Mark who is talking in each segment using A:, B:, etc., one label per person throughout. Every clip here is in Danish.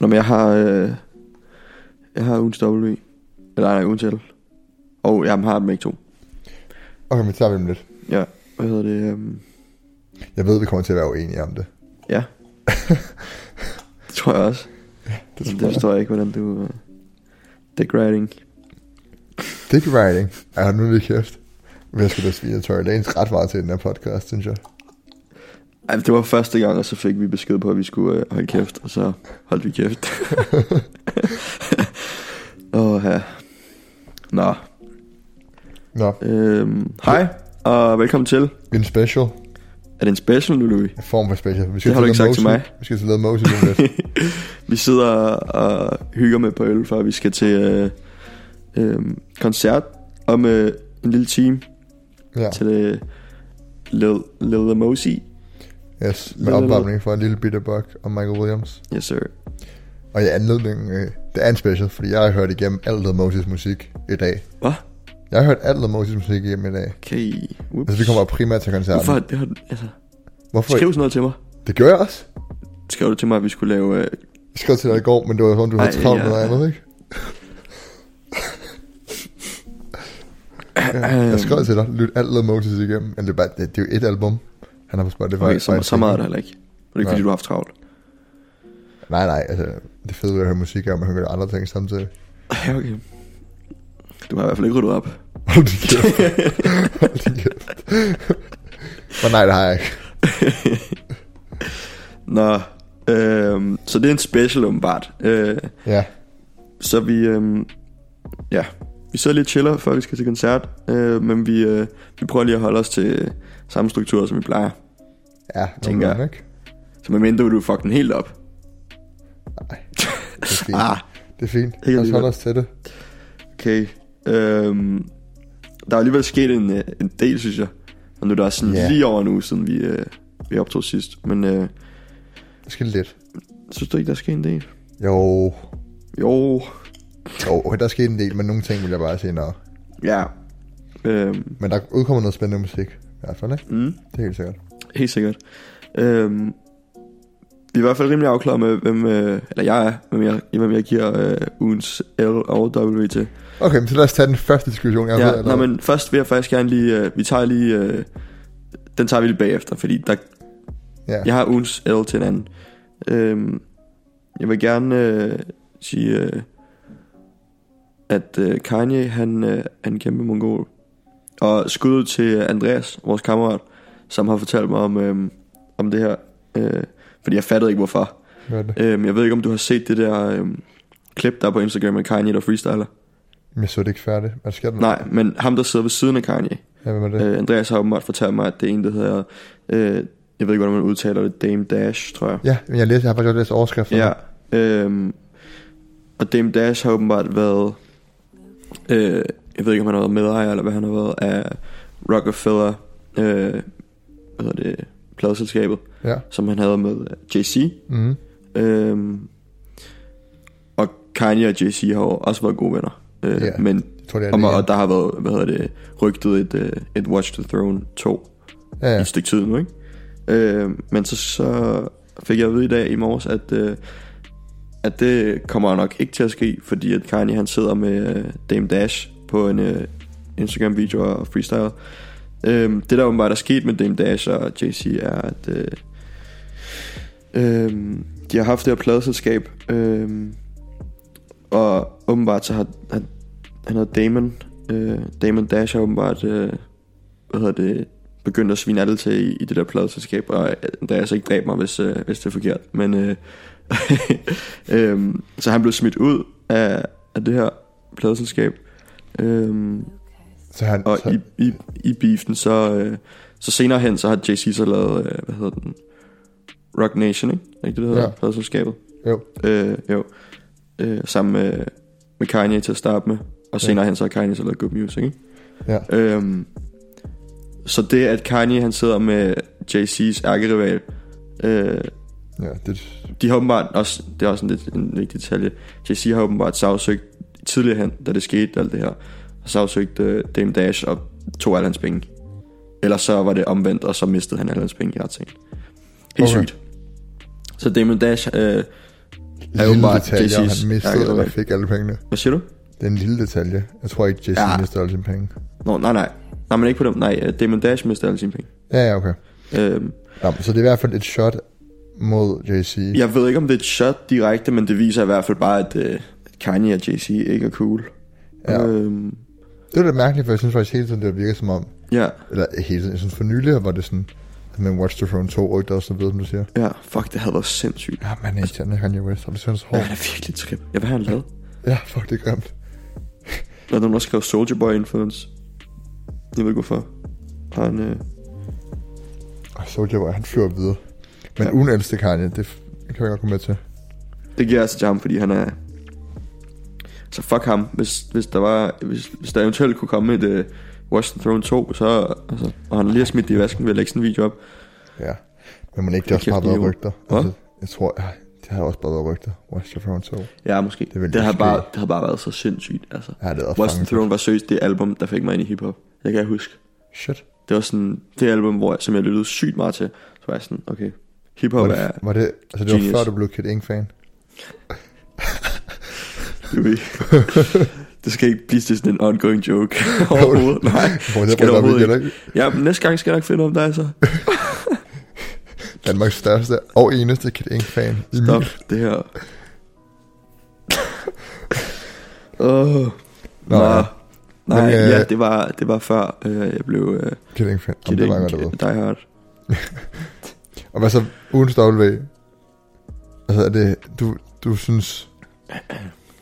A: Nå, men jeg har... Øh, jeg har ugens W. Eller nej, ugens L. Og jeg har dem ikke to.
B: Okay, men tager vi dem lidt.
A: Ja, hvad hedder det? Øhm,
B: Jeg ved, vi kommer til at være uenige om det.
A: ja. det tror jeg også.
B: Det
A: Det,
B: tror
A: det
B: jeg.
A: forstår jeg ikke, hvordan du... Øh, degrading.
B: Dick riding. Ej, hold nu lige kæft. Men jeg skulle da svige Tory Lanez ret meget til den her podcast, synes jeg.
A: Ej, det var første gang, og så fik vi besked på, at vi skulle øh, holde kæft, og så holdt vi kæft. Åh, ja. Nå,
B: Nå,
A: øhm, hej, og velkommen til.
B: en special.
A: Er det en special nu, Louis?
B: En form for special. Vi
A: Det har du
B: til
A: ikke sagt
B: Lad
A: til
B: Mose.
A: mig.
B: Vi skal til Lad Mose lige om lidt.
A: Vi sidder og hygger med på øl, før vi skal til øh, øh, koncert om øh, en lille time
B: Ja,
A: til øh, Lil, Lil Amosi.
B: yes. Med
A: Lille-
B: opvarmning for en lille bitte buck og Michael Williams.
A: Yes, sir.
B: Og i anledning, øh, det er en special, fordi jeg har hørt igennem alt Lad Moses musik i dag.
A: Hvad?
B: Jeg har hørt alt Lad Moses musik igennem i dag.
A: Okay. Whoops.
B: Altså, vi kommer primært til koncerten.
A: Hvorfor? Det har, du- altså,
B: Hvorfor?
A: skriv sådan noget til mig.
B: Det gjorde jeg også.
A: Skrev du til mig, at vi skulle lave... Øh,
B: Jeg skrev til dig i går, men det var sådan, du havde
A: Ej,
B: travlt med
A: ja.
B: noget andet, ikke? Ja, jeg
A: Øhm.
B: skrev til dig, lyt alt Led Moses igennem. Men det er, bare, det, det er jo et album. Han har på Spotify.
A: okay, så,
B: Bare
A: så meget er der
B: et
A: heller ikke. Det er ikke,
B: Nej.
A: fordi du har haft travlt.
B: single. Nej, nej, altså, det fede ved at høre musik er, at man hører andre ting samtidig.
A: Ja, okay. Du har i hvert fald ikke ryddet op.
B: Hold din kæft. Hold din kæft. Men nej, det har jeg ikke.
A: Nå, øh, så det er en special, åbenbart. Øh,
B: Ja,
A: Så vi, øhm, ja, vi sidder lidt og chiller, før vi skal til koncert, øh, men vi, øh, vi prøver lige at holde os til øh, samme struktur, som vi plejer.
B: ja,
A: Tænker
B: nogenlunde,
A: jeg.
B: ikke?
A: Så med mindre du fucking den helt op.
B: Nej, det er fint.
A: Ah,
B: Det er fint. Lad os
A: alligevel.
B: holde os til det.
A: okay. Øhm, der er alligevel sket en, øh, en del, synes jeg. Og nu er der også sådan
B: Ja.
A: yeah. lige over en uge, siden vi, øh, vi optog sidst. Men øh,
B: Måske lidt.
A: synes du ikke, der er sket en del?
B: Jo,
A: Jo,
B: jo, der er sket en del, men nogle ting vil jeg bare sige, nå.
A: ja. Øhm,
B: Men der udkommer noget spændende musik. I hvert fald, ikke?
A: mm.
B: Det er helt sikkert.
A: Helt sikkert. Øhm, vi er i hvert fald rimelig afklaret med, hvem, øh, eller jeg er, hvem jeg, hvem jeg giver øh, ugens L og W til.
B: Okay, men så lad os tage den første diskussion, jeg ved.
A: Ja,
B: eller-
A: nå, men først vil jeg faktisk gerne lige, øh, vi tager lige, øh, den tager vi lige bagefter, fordi der,
B: ja.
A: jeg har ugens L til en anden. Øhm, jeg vil gerne øh, sige, øh, at øh, Kanye, han øh, er en kæmpe mongol. Og skud ud til Andreas, vores kammerat, som har fortalt mig om, øh, om det her. Øh, fordi jeg fattede ikke, hvorfor.
B: Hvad er det?
A: Øhm, jeg ved ikke, om du har set det der øhm, klip, der er på Instagram af Kanye, der freestyler.
B: Men jeg så det ikke færdigt. Hvad sker der?
A: Nej, men ham, der sidder ved siden af Kanye.
B: Mm. Ja, hvem er det?
A: Øh, Andreas har åbenbart fortalt mig, at det er en, der hedder... Øh, jeg ved ikke, hvordan man udtaler det. Dame Dash, tror jeg.
B: Ja, men jeg, læser, jeg har faktisk også læst overskriften.
A: Ja. Øhm, og Dame Dash har åbenbart været... Øh, jeg ved ikke, om han har været medejer, eller hvad han har været af Rockefeller... Øh, hvad hedder det? Pladeselskabet,
B: Ja.
A: som han havde med JC.
B: Mm.
A: Øhm, og Kanye og JC har jo også været gode venner. Øh,
B: Ja,
A: yeah. Men
B: Jeg tror, det er
A: om,
B: det.
A: og
B: igen.
A: der har været, hvad hedder det, rygtet et, øh, et Watch the Throne 2
B: Ja,
A: ja. i
B: ja.
A: et stykke tid nu, ikke? Øh, men så, så fik jeg at vide i dag i morges, at, øh, at det kommer nok ikke til at ske, fordi at Kanye han sidder med øh, Dame Dash på en øh, Instagram-video og freestyle. Øh, det der åbenbart er sket med Dame Dash og JC er, at øh, øh, de har haft det her pladeselskab, øh, og åbenbart så har han, han hedder Damon, øh, Damon Dash har åbenbart, øh, hvad hedder det, begyndt at svine alle til i, i det der pladeselskab, og øh, Andreas ikke dræb mig, hvis, øh, hvis det er forkert. Men, øh, øhm, så han blev smidt ud af, af det her pladeselskab. Øhm,
B: Så han,
A: og
B: så,
A: i, i, i beefen, så, øh, så senere hen, så har JC så lavet, øh, hvad hedder den, Rock Nation, ikke? Er ikke det, det hedder,
B: Ja.
A: ja. pladeselskabet?
B: jo,
A: Øh, jo. Øh, sammen med, med Kanye til at starte med. Og
B: Ja.
A: senere hen, så har Kanye så lavet Good Music, ikke?
B: Ja.
A: Øhm, så det, at Kanye han sidder med JC's ærkerival, øh,
B: ja, det,
A: de har åbenbart også, det er også en, lidt, en vigtig detalje, JC har åbenbart sagsøgt tidligere hen, da det skete alt det her, og sagsøgt øh, Dame Dash og tog alle hans penge. Eller så var det omvendt, og så mistede han alle hans penge i retssagen. Helt
B: Okay.
A: okay. sygt. Så Damon Dash øh, er
B: lille
A: åbenbart
B: detalje, om
A: Jay-Z's
B: han mistede
A: jakke,
B: ja,
A: der
B: eller
A: væk.
B: fik alle pengene.
A: Hvad siger du?
B: Det er en lille detalje. Jeg tror ikke, Jesse
A: Ja.
B: ja. mistede alle sine penge.
A: Nå, nej, nej. Nej, men ikke på dem. Nej, øh, Damon Dash mistede alle sine penge.
B: Ja, ja, okay.
A: Øhm,
B: Nå, men så det er i hvert fald et shot mod JC. Ja.
A: jeg ved ikke, om det er et shot direkte, men det viser i hvert fald bare, at øh, at Kanye og Jay-Z ikke er cool.
B: Ja.
A: Øhm,
B: Det var lidt mærkeligt, for jeg synes faktisk hele tiden, det virker som om...
A: ja,
B: Eller øh, hele tiden, jeg synes for nylig var det sådan... At man Watch the Throne 2 og ikke også ved, som du siger.
A: ja. Fuck, det havde været sindssygt.
B: Ja, man er irriterende, Kanye West. Har du set hans hår?
A: Ja, han er virkelig trim. Ja, hvad har han lavet?
B: Ja, fuck, det er grimt.
A: Der er nogen, der skrev Soldier Boy Influence. Jeg ved ikke, hvorfor. Har han... Øh,
B: Og så det var, han flyver videre. Men
A: Ja.
B: ja. uden ældste Kanye, det f- det kan jeg godt komme med til.
A: Det giver jeg altså til ham, fordi han er... Så fuck ham, hvis, hvis der var... Hvis, hvis der eventuelt kunne komme et uh, Watch the Throne 2, så... Altså, og han lige har smidt det i vasken ved at lægge sådan en video op.
B: Ja. Men man ikke, det har også
A: kæft,
B: bare været
A: Leo.
B: rygter. Altså,
A: Hvad?
B: jeg tror, ja, det har også bare været rygter. Watch the Throne 2.
A: Ja, måske.
B: er vel
A: Det, har
B: måske-
A: bare, det har bare været så sindssygt, altså.
B: Ja, det er
A: Watch the
B: fanget.
A: Throne var seriøst det album, der fik mig ind i hiphop. Det kan jeg huske.
B: Shit.
A: Det var sådan... Det album, hvor jeg, som jeg lyttede sygt meget til, så var jeg sådan, okay... Hiphop
B: Var
A: er...
B: det, var det, altså det var
A: genius.
B: før du blev Kid Ink-fan?
A: Du ved. det skal ikke blive til sådan en ongoing joke overhovedet. Nej,
B: Hvor det
A: skal det
B: var
A: overhovedet
B: der,
A: ikke.
B: ikke?
A: Ja, men næste gang skal jeg nok finde om dig, så.
B: Danmarks største og eneste Kid Ink-fan. i min-
A: Stop det her. Åh. Nå,
B: Nå,
A: nej,
B: ja.
A: nej
B: Men, øh,
A: ja, det var, det var før øh, jeg blev øh,
B: Kid Ink-fan. Jamen, det var godt,
A: kidding,
B: du
A: Die Hard.
B: Og hvad så ugens W? Altså er det, du, du synes,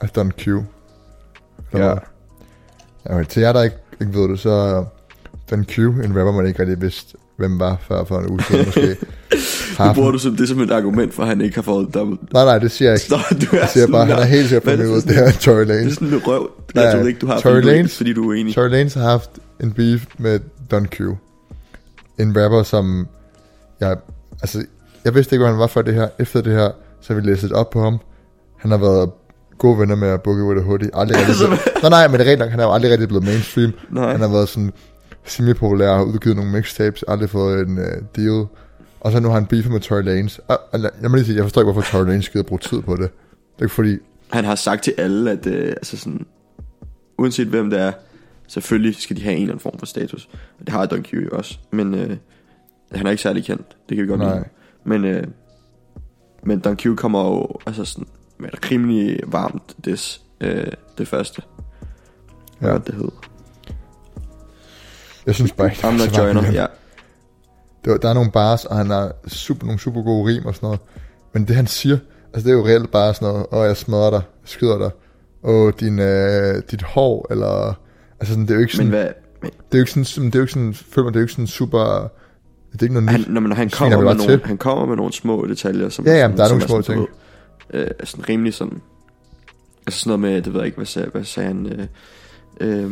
B: at der er en Q? Eller
A: Ja.
B: hvad? ja okay. til jer, der ikke, ikke ved det, så den Q, en rapper, man ikke rigtig vidste, hvem var før for en uge siden måske.
A: Nu
B: Har
A: bruger du som, det som et argument for, at han ikke har fået dobbelt.
B: Nej, nej, det siger jeg ikke.
A: Stop, du er
B: Jeg siger
A: sådan,
B: bare, han er helt sikkert
A: Hvad er det
B: fundet
A: for
B: ud,
A: sådan
B: det her Tory
A: det er
B: Lanez.
A: sådan lidt røv.
B: Ja,
A: Jeg tror ikke, du har,
B: Tory
A: fordi du, er-
B: Lanez-
A: fordi du er uenig.
B: Tory Lanez har haft en beef med Don Q. En rapper, som jeg... Altså, jeg vidste ikke, hvor han var før det her. Efter det her, så har vi læst lidt op på ham. Han har været gode venner med Boogie With A Hoodie. Aldrig rigtig
A: Altså,
B: blevet... Nej, nej, men det er rent nok. Han er jo aldrig rigtig blevet mainstream.
A: Nej.
B: Han har været sådan semi-populær, har udgivet nogle mixtapes, aldrig fået en uh, deal. Og så nu har han beefet med Tory Lanez. Og, og lad- lad mig lige sige, jeg forstår ikke, hvorfor Tory Lanez gider bruge tid på det. Det er ikke fordi,
A: Han har sagt til alle, at øh, altså sådan, uanset hvem det er, selvfølgelig skal de have en eller anden form for status. Og det har Don Q jo også, men øh, han er ikke særlig kendt. Det kan vi godt
B: Nej.
A: lide. Men, øh, men Don Q kommer jo altså sådan, med et rimelig varmt des, øh, det første. Hvad
B: Ja.
A: var det, det hed?
B: jeg synes bare ikke, det var
A: I'm
B: så
A: not
B: meget
A: joiner,
B: imponerende.
A: ja.
B: Der, der er nogle bars, og han har super, nogle super gode rim og sådan noget. Men det han siger, altså det er jo reelt bare sådan noget, åh jeg smadrer dig, skyder dig, åh din, øh, dit hår, eller... Altså sådan, det er jo ikke
A: Men
B: sådan,
A: hvad, men,
B: det er jo ikke sådan, sådan- det er jo ikke sådan, føler man, det er jo ikke sådan super... Det er ikke noget nyt.
A: han, når, man, han,
B: Sviner
A: kommer
B: vi
A: med
B: bare
A: nogle,
B: til.
A: han kommer med nogle små detaljer, som,
B: Ja, ja,
A: som,
B: der er
A: som
B: nogle
A: sådan,
B: små
A: du ved, Øh, er sådan rimelig sådan, altså sådan noget med, det ved jeg ikke, hvad sagde, hvad sagde han, øh, øh,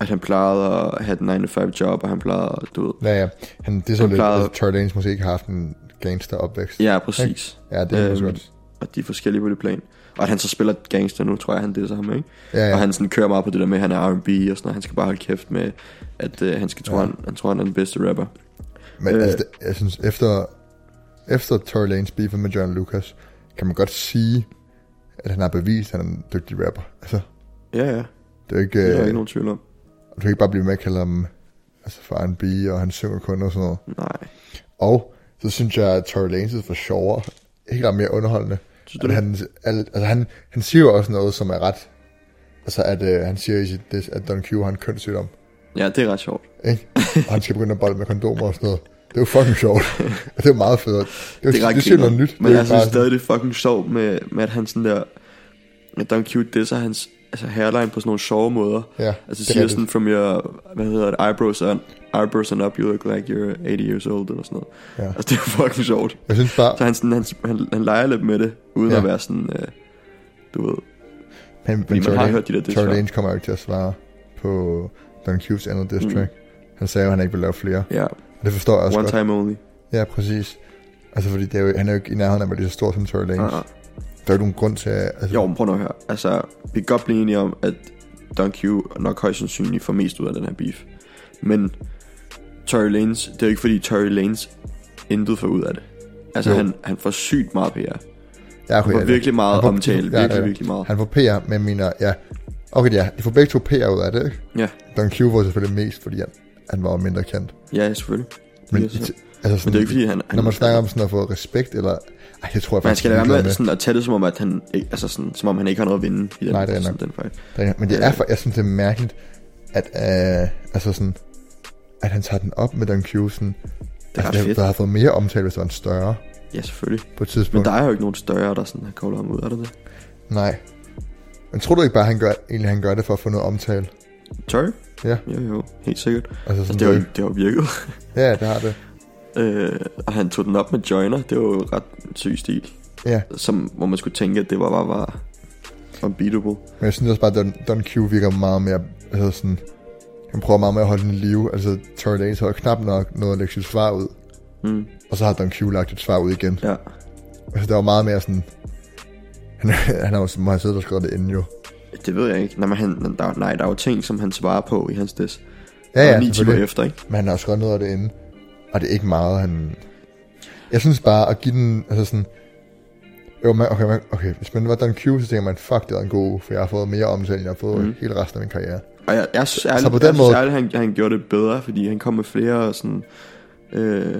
A: at han plejede at have den 9-5 job, og han plejede, at- du ved,
B: Ja, ja. Han, det er så
A: Han
B: lidt,
A: plejede-
B: at Tory Lanez måske ikke har haft en gangster opvækst.
A: ja, præcis,
B: Ja, det er øhm,
A: Øhm,
B: godt.
A: og de er forskellige på det plan. Og at han så spiller gangster nu, tror jeg, han disser ham, ikke?
B: Ja, ja.
A: Og han sådan kører meget på det der med, at han er R&B og sådan noget. Han skal bare holde kæft med, at øh, han, skal tro,
B: Ja.
A: han, han tror, han er den bedste rapper. Øh.
B: Men øh, altså, det- jeg synes, efter, efter Tory Lanez beefet med John Lucas, kan man godt sige, at han har bevist, at han er en dygtig rapper. Altså,
A: Ja, ja,
B: det er jo ikke...
A: det er der
B: øh,
A: ikke nogen tvivl om.
B: Du kan ikke bare blive med at kalde ham altså for R&B, og han synger kun og sådan noget.
A: Nej.
B: Og så synes jeg, at Tory Lanez var sjovere. Helt klart mere underholdende.
A: Synes du
B: At
A: det?
B: han, al, altså han, han siger jo også noget, som er ret... Altså, at øh, han siger i sit diss, at Don Q har en kønssygdom.
A: Ja, det er ret sjovt.
B: Ikke? Og han skal begynde at bolle med kondomer og sådan noget. Det er jo fucking sjovt. det er jo meget fedt. Det, er,
A: det er
B: det,
A: ret
B: det siger noget
A: grineren.
B: nyt.
A: Men
B: det er
A: jeg
B: jo
A: synes
B: bare sådan-
A: stadig, det er fucking sjovt med, med at han sådan der... At Don Q disser hans altså hairline på sådan nogle sjove måder.
B: Ja,
A: Altså
B: det er
A: siger
B: rigtigt.
A: sådan, from your, hvad hedder det, eyebrows and, eyebrows and up, you look like you're 80 years old, eller sådan noget.
B: Ja.
A: Altså det er fucking sjovt.
B: Jeg synes bare...
A: Så han, sådan, han, han, han leger lidt med det, uden ja.
B: Ja.
A: at være sådan, øh, du ved, Fordi
B: Men, men
A: man
B: Tory,
A: har
B: Lanez,
A: hørt de der diss
B: Tory
A: før.
B: Lanez kommer jo ikke til at svare på Don Q's andet diss track. Han sagde jo, at han ikke ville lave flere.
A: ja,
B: Og det forstår jeg også
A: Mm. one
B: godt.
A: time only.
B: Ja, præcis. Altså, fordi det er jo, han er jo ikke i nærheden af at være lige så stor som Tory Lanez.
A: Uh-uh.
B: Der er jo nogen grund til, at... Altså,
A: Jo, men prøv nu at høre. Altså, vi kan godt blive enige om, at Don Q nok højst sandsynligt får mest ud af den her beef. Men Tory Lanez, det er jo ikke fordi Tory Lanez intet får ud af det. Altså,
B: Jo.
A: han, han får sygt meget PR.
B: Ja, okay,
A: Han var
B: ja, det-
A: virkelig meget
B: han får-
A: omtale.
B: ja,
A: Virkelig,
B: ja.
A: virkelig meget.
B: Han får PR, men mener, ja. Okay, ja, de får begge to PR ud af det, ikke?
A: Ja.
B: Don Q var selvfølgelig mest, fordi han, han var mindre kendt.
A: Ja, selvfølgelig.
B: Men,
A: Yes,
B: i
A: ja.
B: t- altså
A: Men
B: sådan,
A: det er jo ikke fordi, han...
B: når man snakker om sådan at få respekt, eller... Ej, det tror jeg
A: Man
B: faktisk
A: skal lade
B: han er
A: være
B: ligeglad
A: med sådan at tage det som om, at han, ikke- altså sådan, som om han ikke har noget at vinde i den,
B: Nej, det er
A: sådan,
B: nok.
A: den fight.
B: Der er- Men det
A: Ja.
B: er for, jeg synes, det er mærkeligt, at, øh, altså sådan, at han tager den op med Don Q, sådan,
A: Det er ret
B: altså, det,
A: fedt.
B: der har fået mere omtale, hvis det var en større
A: Ja, selvfølgelig.
B: på et
A: Men
B: tidspunkt.
A: der er jo ikke nogen større, der sådan har koldt ham ud, er det det?
B: Nej. Men tror du ikke bare, han gør, egentlig, han gør det for at få noget omtale?
A: Tøj?
B: Ja.
A: Jo, jo, helt sikkert.
B: Altså
A: Altså,
B: sådan,
A: det har jo det har jo virket.
B: Ja, det har det.
A: Øh, og han tog den op med Joyner, det var jo ret syg stil.
B: Ja.
A: Som, hvor man skulle tænke, at det var bare, var unbeatable.
B: Men jeg synes også bare, at Don, Don Q virker meget mere, altså sådan, han prøver meget mere at holde den i live. Altså, Tory Lanez har jo knap nok noget at lægge sit svar ud.
A: Mm,
B: Og så har Don Q lagt et svar ud igen.
A: ja.
B: Altså, der var meget mere sådan... Han, han har jo, må have siddet og skrevet det inden jo.
A: Det ved jeg ikke. Nej, men han, der, nej, der er jo ting, som han svarer på i hans diss.
B: Ja, ja,
A: Og ni timer
B: selvfølgelig.
A: efter, ikke?
B: Men han har jo skrevet noget af det inden. Og det er ikke meget, han... Jeg synes bare, at give den... Altså sådan... Jo, man, okay, man, okay, hvis man var Don Q, så tænker man, fuck, det var en god uge, for jeg har fået mere omtale, end jeg har fået
A: Mhm.
B: mm. hele resten af min karriere.
A: Og jeg, jeg synes ærligt,
B: Så på den
A: jeg synes
B: måde-
A: ærligt han, han gjorde det bedre, fordi han kom med flere sådan... Øh,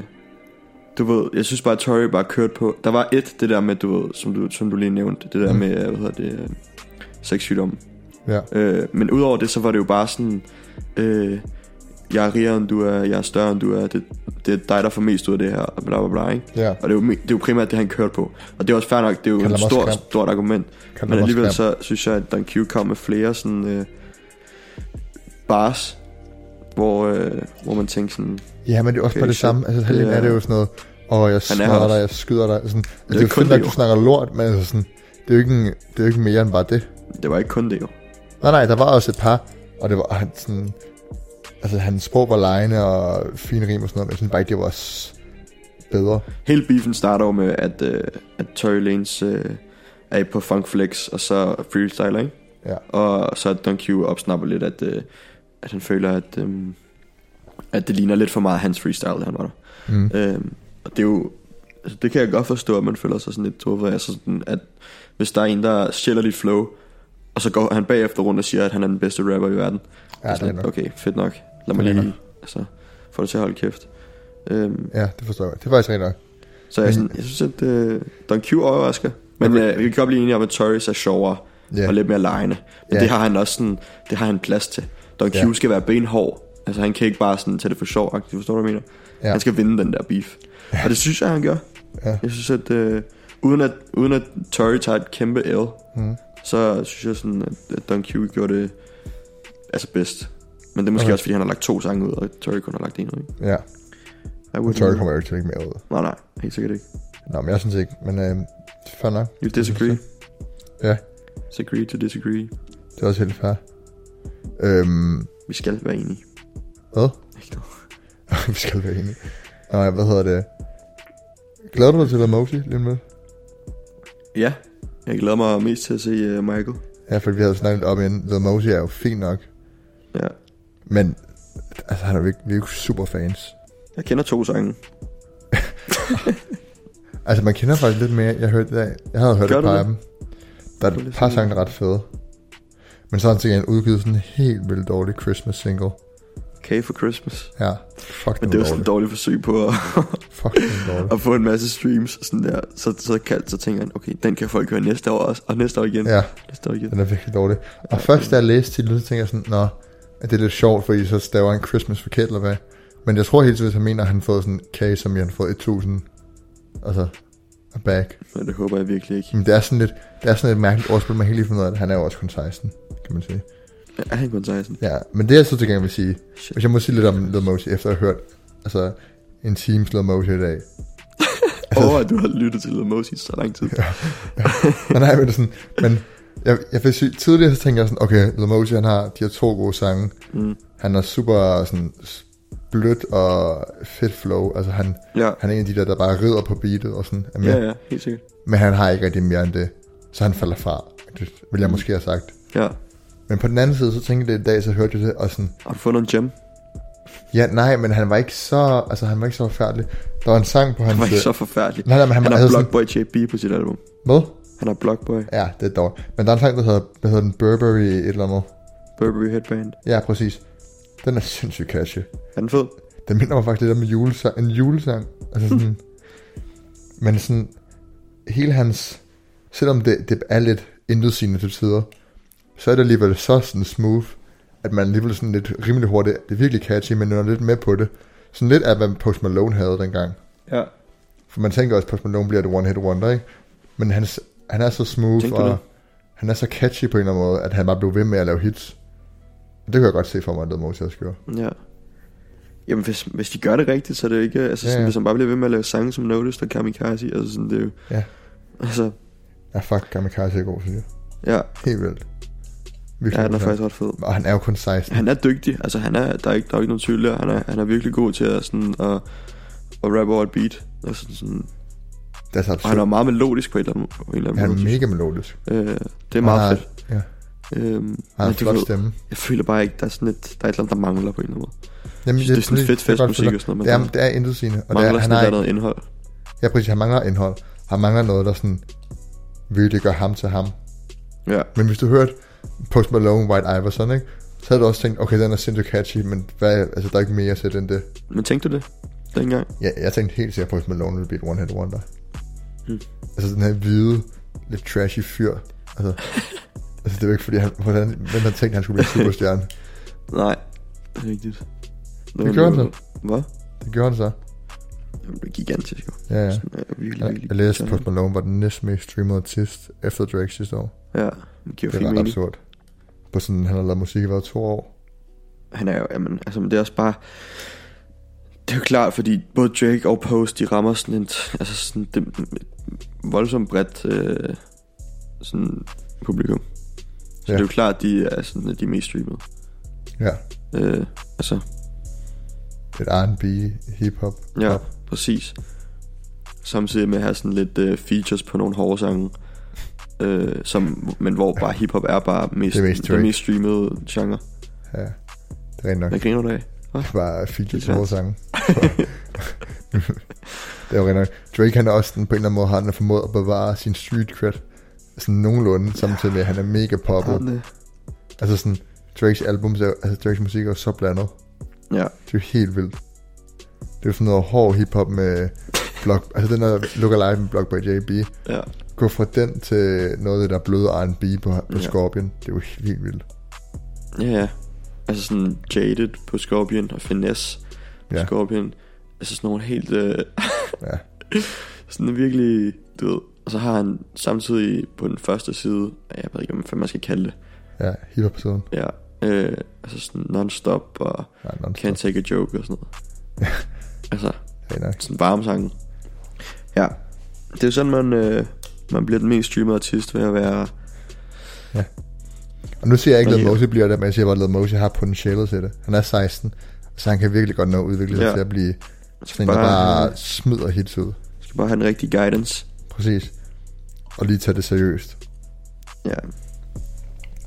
A: du ved, jeg synes bare, at Tory bare kørte på... Der var et, det der med, du ved, som du, som du lige nævnte, det der
B: Mm.
A: med, hvad hedder det, øh, sexsygdom.
B: Ja.
A: Øh, men udover det, så var det jo bare sådan... Øh, jeg er rigere, end du er, jeg er større, end du er, det, det er dig, der får mest ud af det her, og bla bla bla, ikke?
B: Ja,
A: Og det er, jo, me- det er jo primært det, han kørte på. Og det er også fair nok, det er jo
B: Kalder
A: et
B: mig også
A: stort,
B: grim.
A: stort argument.
B: kan
A: Men
B: man
A: alligevel
B: også
A: så synes jeg, at Don Q kom med flere sådan øh, bars, hvor, øh, hvor man tænker sådan...
B: Ja, men det er også
A: Okay,
B: okay, bare det
A: shit.
B: samme. Altså, halvdelen
A: Det er-
B: ja. er det jo sådan noget, og jeg
A: her
B: smadrer
A: også.
B: dig, jeg skyder dig. Sådan, altså, det er jo
A: ikke kun
B: fedt, nok,
A: det,
B: at
A: jo.
B: du snakker lort, men altså sådan, det er jo ikke, en, det er jo ikke mere end bare det.
A: Det var ikke kun det jo.
B: Nej, nej, der var også et par, og det var han sådan... Altså, hans sprog var lejende og fine rim og sådan noget, men jeg synes bare ikke, det var s- bedre.
A: Hele beefen starter jo med, at, øh, at Tory Lanez øh, er på Funk Flex, og så freestyler, ikke?
B: Ja.
A: Og så at Don Q opsnapper lidt, at, øh, at han føler, at, øh, at det ligner lidt for meget hans freestyle, da han var der.
B: Mm.
A: Øhm, og det er jo... Altså, det kan jeg godt forstå, at man føler sig sådan lidt truffet af, så sådan, at hvis der er en, der sjæler dit flow, og så går han bagefter rundt og siger, at han er den bedste rapper i verden.
B: Ja, det er
A: sådan,
B: nok.
A: Okay, fedt nok. Lad mig
B: Det er
A: lige... Altså, få det til at holde kæft. Øhm,
B: Ja, det forstår jeg. Det er faktisk rigtigt nok.
A: så jeg,
B: Men-
A: sådan, jeg synes, at øh, Don Q overrasker. Men
B: Men-
A: øh, vi kan godt blive enige om, at Torres er sjovere
B: Ja.
A: og lidt mere lejende. Men
B: Ja.
A: det har han også sådan, det har han plads til. Don Q
B: Ja.
A: skal være benhård. Altså han kan ikke bare sådan tage det for sjov, forstår du, hvad jeg mener?
B: Ja.
A: Han skal vinde den der beef. Ja. Og det synes jeg, han gør.
B: Ja.
A: Jeg synes, at øh, uden at, uden at Tory tager et kæmpe L,
B: Mm.
A: så synes jeg sådan, at, at Don Q gjorde det altså bedst. Men det er måske
B: Okay.
A: også, fordi han har lagt to sange ud, og Tory kun har lagt en ud, ikke?
B: Ja,
A: I
B: og
A: wouldn't-
B: Tory kommer jo ikke til at lægge mere ud.
A: Nej, nej, helt sikkert ikke.
B: Nå, men jeg synes ikke, men øh, fair nok.
A: You disagree.
B: Ja.
A: Disagree to disagree.
B: Det er også helt fair. Øhm,
A: Vi skal være enige.
B: hvad?
A: Ikke noget.
B: vi skal være enige. Nå, hvad hedder det? Glæder du dig til Lamosi lige om lidt?
A: Ja, jeg glæder mig mest til at se uh, Michael.
B: Ja, fordi vi havde snakket lidt om inden. Lamosi er jo fint nok.
A: Ja.
B: Men altså, han er jo ikke, vi er jo ikke super fans.
A: Jeg kender to sange.
B: Altså, man kender faktisk lidt mere. Jeg, hørte, jeg, jeg havde hørt
A: Gør
B: et
A: du
B: par
A: det?
B: af dem. Der er
A: Prøv lige
B: et
A: at
B: par
A: se.
B: sange, der er ret fede. Men sådan set er han udgivet sådan en helt vildt dårlig Christmas single.
A: K for Christmas.
B: Ja, fuck
A: Men det
B: den dårlig.
A: var sådan et dårligt forsøg på at,
B: Fuck den dårlig.
A: at få en masse streams. og Sådan der. Så, så, kaldt, så tænker han, okay, den kan folk høre næste år også, og næste år igen.
B: Ja,
A: Næste år igen.
B: den er virkelig dårlig. Og først da jeg læste titlen, så tænkte jeg sådan, nå, at det er lidt sjovt, fordi så staver han Christmas forkert eller hvad. Men jeg tror helt sikkert, at han mener, at han har fået sådan en K, som jeg har fået 1000. Altså, a back.
A: Men det håber jeg virkelig ikke.
B: Men det er sådan lidt, det er sådan et mærkeligt ordspil, man helt lige fundet ud af, at han er jo også kun 16, kan man sige.
A: Er han kun 16?
B: Ja, men det jeg så til gengæld vil sige,
A: Shit.
B: Hvis jeg må sige lidt om Lil Mosey, efter at have hørt altså, en times Lil Mosey i dag.
A: Over, at du har lyttet til Lil Mosey så lang tid.
B: Men nej, men det er sådan, men jeg, jeg vil sige, tidligere så tænkte jeg sådan, okay, Lil Mosey, han har de her to gode sange.
A: Mm.
B: Han er super sådan s- blødt og fedt flow. Altså han,
A: Ja.
B: han er en af de der, der bare rider på beatet og sådan. Er med.
A: ja,
B: Yeah.
A: ja, helt sikkert.
B: Men han har ikke rigtig mere end det. Så han falder fra. Det ville
A: Mm.
B: jeg måske have sagt.
A: Ja.
B: Men på den anden side, så tænkte jeg det i dag, så hørte jeg det, og sådan,
A: Har du fundet en gem?
B: ja, nej, men han var ikke så, altså han var ikke så forfærdelig. Der var en sang på hans... øh,
A: Han var ikke så forfærdelig.
B: Nej, nej, men han,
A: Han
B: var
A: har
B: altså sådan,
A: Blockboy JB på sit album.
B: hvad?
A: Han har Blockboy,
B: Ja, det er dårligt. Men der er en sang, der hedder, hvad hedder den? Burberry et eller andet.
A: Burberry Headband.
B: Ja, præcis. Den er sindssygt catchy.
A: Er den fed?
B: Den minder mig faktisk lidt om en julesang. En julesang. Altså sådan, men sådan, hele hans, selvom det, det er lidt intetsigende til tider, så er det alligevel så sådan smooth, at man alligevel sådan lidt rimelig hurtigt, det er virkelig catchy, men man er lidt med på det. Sådan lidt af, hvad Post Malone havde dengang.
A: Ja.
B: For man tænker også, at Post Malone bliver et one-hit wonder, ikke? Men hans, han er så smooth,
A: Tænkte du
B: og
A: det?
B: han er så catchy på en eller anden måde, at han bare blev ved med at lave hits. Det kan jeg godt se for mig, at Led Moses gjorde.
A: Ja. Jamen, hvis, hvis de gør det rigtigt, så er det jo ikke... Altså,
B: Ja,
A: sådan,
B: ja.
A: hvis han bare bliver ved med at lave sange som Noticed og Kamikaze, altså sådan, det er jo...
B: Ja.
A: Altså,
B: Ja, fuck, Kamikaze er god, synes jeg.
A: ja,
B: Helt vildt. Virkelig
A: ja den er
B: god sang.
A: faktisk ret fed.
B: Og han er jo kun 16.
A: Han er dygtig, altså han er, der er ikke, der er ikke nogen tvivl der. Han er, han er virkelig god til at, sådan, at, at rappe over et beat. Og, sådan, sådan,
B: Det er så
A: og han er
B: absurd.
A: jo meget melodisk på en eller anden, på en eller anden
B: Han er
A: måde.
B: mega melodisk.
A: Øh, det er meget
B: han
A: fedt.
B: har, ja,
A: Øhm,
B: han har
A: men
B: en
A: du
B: flot
A: ved,
B: stemme.
A: jeg føler bare ikke, der er sådan et, der er et eller andet, der mangler på en eller anden måde.
B: Jamen,
A: det er sådan
B: præcis-
A: fedt
B: det er godt,
A: festmusik
B: det
A: og sådan noget,
B: er-
A: men
B: Det er,
A: der
B: det er intetsigende. Og det
A: mangler
B: er, han,
A: sådan et
B: har,
A: eller andet indhold.
B: ikke- ja, præcis, han mangler indhold. Han mangler noget, der sådan virkelig gør ham til ham.
A: Ja,
B: Men hvis du hørte Post Malone, White Iverson, ikke? så havde du også tænkt, okay, den er sindssygt catchy, men hvad, altså, der er ikke mere til end det.
A: men tænkte du det dengang?
B: Ja, jeg tænkte helt sikkert, at Post Malone ville blive et one-hit wonder.
A: Mm.
B: Altså den her hvide, lidt trashy fyr. Altså, altså det var ikke fordi, han, hvordan, hvem havde tænkt, at han skulle blive superstjerne.
A: Nej, det er rigtigt. Nå,
B: Det gjorde han så.
A: Hvad?
B: Det gjorde han så.
A: Jamen, det er gigantisk. jo.
B: Ja, ja.
A: Sådan, ja, virkelig,
B: Jeg,
A: virkelig.
B: jeg læste, at Post Malone var den næst mest streamede artist efter Drake sidste år.
A: Ja, det giver
B: Det
A: fin
B: var
A: mening.
B: absurd. På sådan, han har lavet musik i hver to år.
A: Han er jo, jamen, altså, men det er også bare... Det er jo klart, fordi både Drake og Post, de rammer sådan en, altså sådan det, voldsomt bredt øh, sådan publikum. Så
B: Ja.
A: det er jo klart, de er sådan, de er mest streamede.
B: Ja,
A: Øh, altså,
B: et R&B, hip-hop.
A: ja,
B: pop.
A: præcis. Samtidig med at have sådan lidt øh, features på nogle hårde sange, øh, som, men hvor bare hiphop er bare mest,
B: Det er mest
A: den
B: Drake.
A: mest streamede genre.
B: Ja, det er rent nok.
A: Hvad griner du af?
B: Det var feature
A: Det er
B: til vores sange. det er jo rent nok. Drake han er også sådan, på en eller anden måde har han formået at bevare sin street cred sådan nogenlunde, samtidig med at han er mega poppet.
A: Sådan, øh,
B: Altså sådan, Drakes albums, er, jo- altså Drakes musik er jo så blandet.
A: Ja,
B: Det er jo helt vildt. Det er jo sådan noget hård hiphop med blok, altså den der Look Alive med Block by JB.
A: ja.
B: Gå fra den til noget af det der bløde R&B på, på
A: Ja.
B: Scorpion. Det er jo helt vildt.
A: Ja, ja. Altså sådan Jaded på Scorpion og Finesse på
B: Ja.
A: ja. Scorpion. Altså sådan nogle helt... Øh,
B: Ja.
A: sådan virkelig, du ved... Og så har han samtidig på den første side, jeg ved ikke, om hvad man skal kalde det,
B: Ja, hiphop siden.
A: ja, øh, altså sådan non-stop og
B: Ja, non-stop.
A: Can't Take a Joke og sådan noget. altså,
B: Rent nok.
A: sådan varme sange. Ja, det er jo sådan, man, øh, man bliver den mest streamede artist ved at være...
B: Og nu siger jeg ikke, at
A: Men-
B: Mose bliver det, men jeg siger bare, at Lil Mosey har potentialet til det. Han er 16, så han kan virkelig godt nå at udvikle sig ja.
A: Ja.
B: til at blive sådan en, der
A: Bare,
B: bare smider hits ud.
A: skal bare have en rigtig guidance.
B: Præcis. Og lige tage det seriøst.
A: Ja.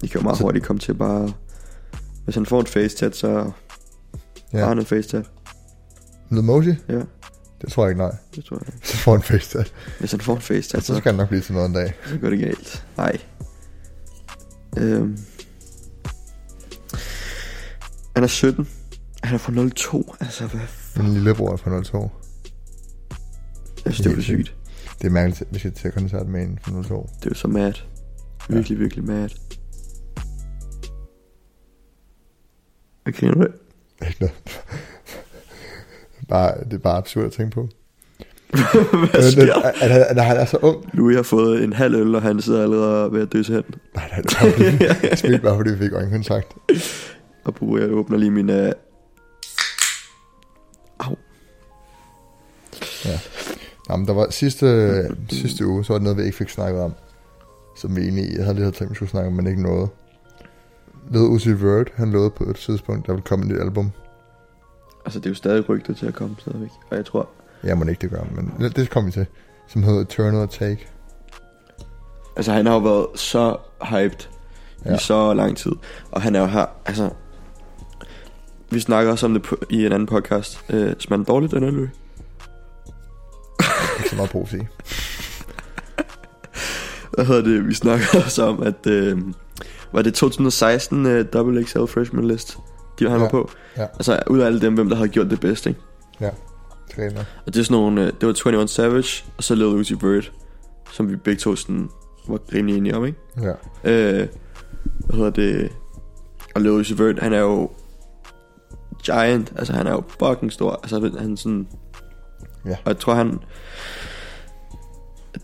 A: De kan jo meget
B: Så-
A: hurtigt komme til bare... Hvis han får en face tat, så ja. har
B: Ja.
A: han en face tat.
B: Lil Mosey?
A: Ja,
B: Det tror jeg ikke, nej.
A: det tror jeg.
B: Så får han face tat.
A: Hvis han får en face tat,
B: Altså, Så
A: så,
B: skal han nok blive til noget en dag.
A: så går det galt. Nej. Øhm. Han er 17. Han er fra 02. Altså, hvad fuck?
B: Min lillebror er fra 02.
A: Jeg synes, det er for sygt.
B: Det er mærkeligt, hvis jeg til koncert med en fra 02.
A: Det er jo så mad. Virkelig, virkelig mad. Hvad griner du af?
B: Ikke noget. bare, det er bare absurd at tænke på.
A: Hvad sker?
B: At, at, at, at han er så ung.
A: Louis har fået en halv øl, og han sidder allerede ved at døse hen.
B: Nej, nej, det var fordi, smidt bare fordi vi fik øjenkontakt.
A: Og bruger, jeg åbner lige min... Øh... Au.
B: Nå, men der var sidste, sidste uge, så var det noget, vi ikke fik snakket om. Som vi egentlig jeg havde lige havde tænkt, vi skulle snakke om, men ikke noget. Lød Uzi Vert, han lovede på et tidspunkt, der ville komme et nyt album.
A: Altså, det er jo stadig rygter til at komme stadigvæk. Og jeg tror...
B: Jeg må ikke det gøre, men det- det kom vi til. Som hedder Eternal Take.
A: Altså, han har jo været så hyped ja.
B: Ja.
A: i så lang tid. Og han er jo her... Altså... Vi snakker også om det på, i en anden podcast. Øh, smager den dårligt, den her Louis?
B: Ikke så meget brug for at sige.
A: hvad hedder det, vi snakker også om, at øh, var det 2016 øh, XXL Freshman List, de han ja. var på.
B: Ja.
A: Altså ud af alle dem, hvem der havde gjort det bedst, ikke?
B: Træner.
A: Og det er sådan nogle, øh, det var 21 Savage, og så Lil Uzi Vert, som vi begge to sådan var rimelig enige om, ikke?
B: Ja.
A: Øh, hvad hedder det? Og Lil Uzi Vert, han er jo giant, altså han er jo fucking stor, altså han er sådan...
B: Ja.
A: Og jeg tror han...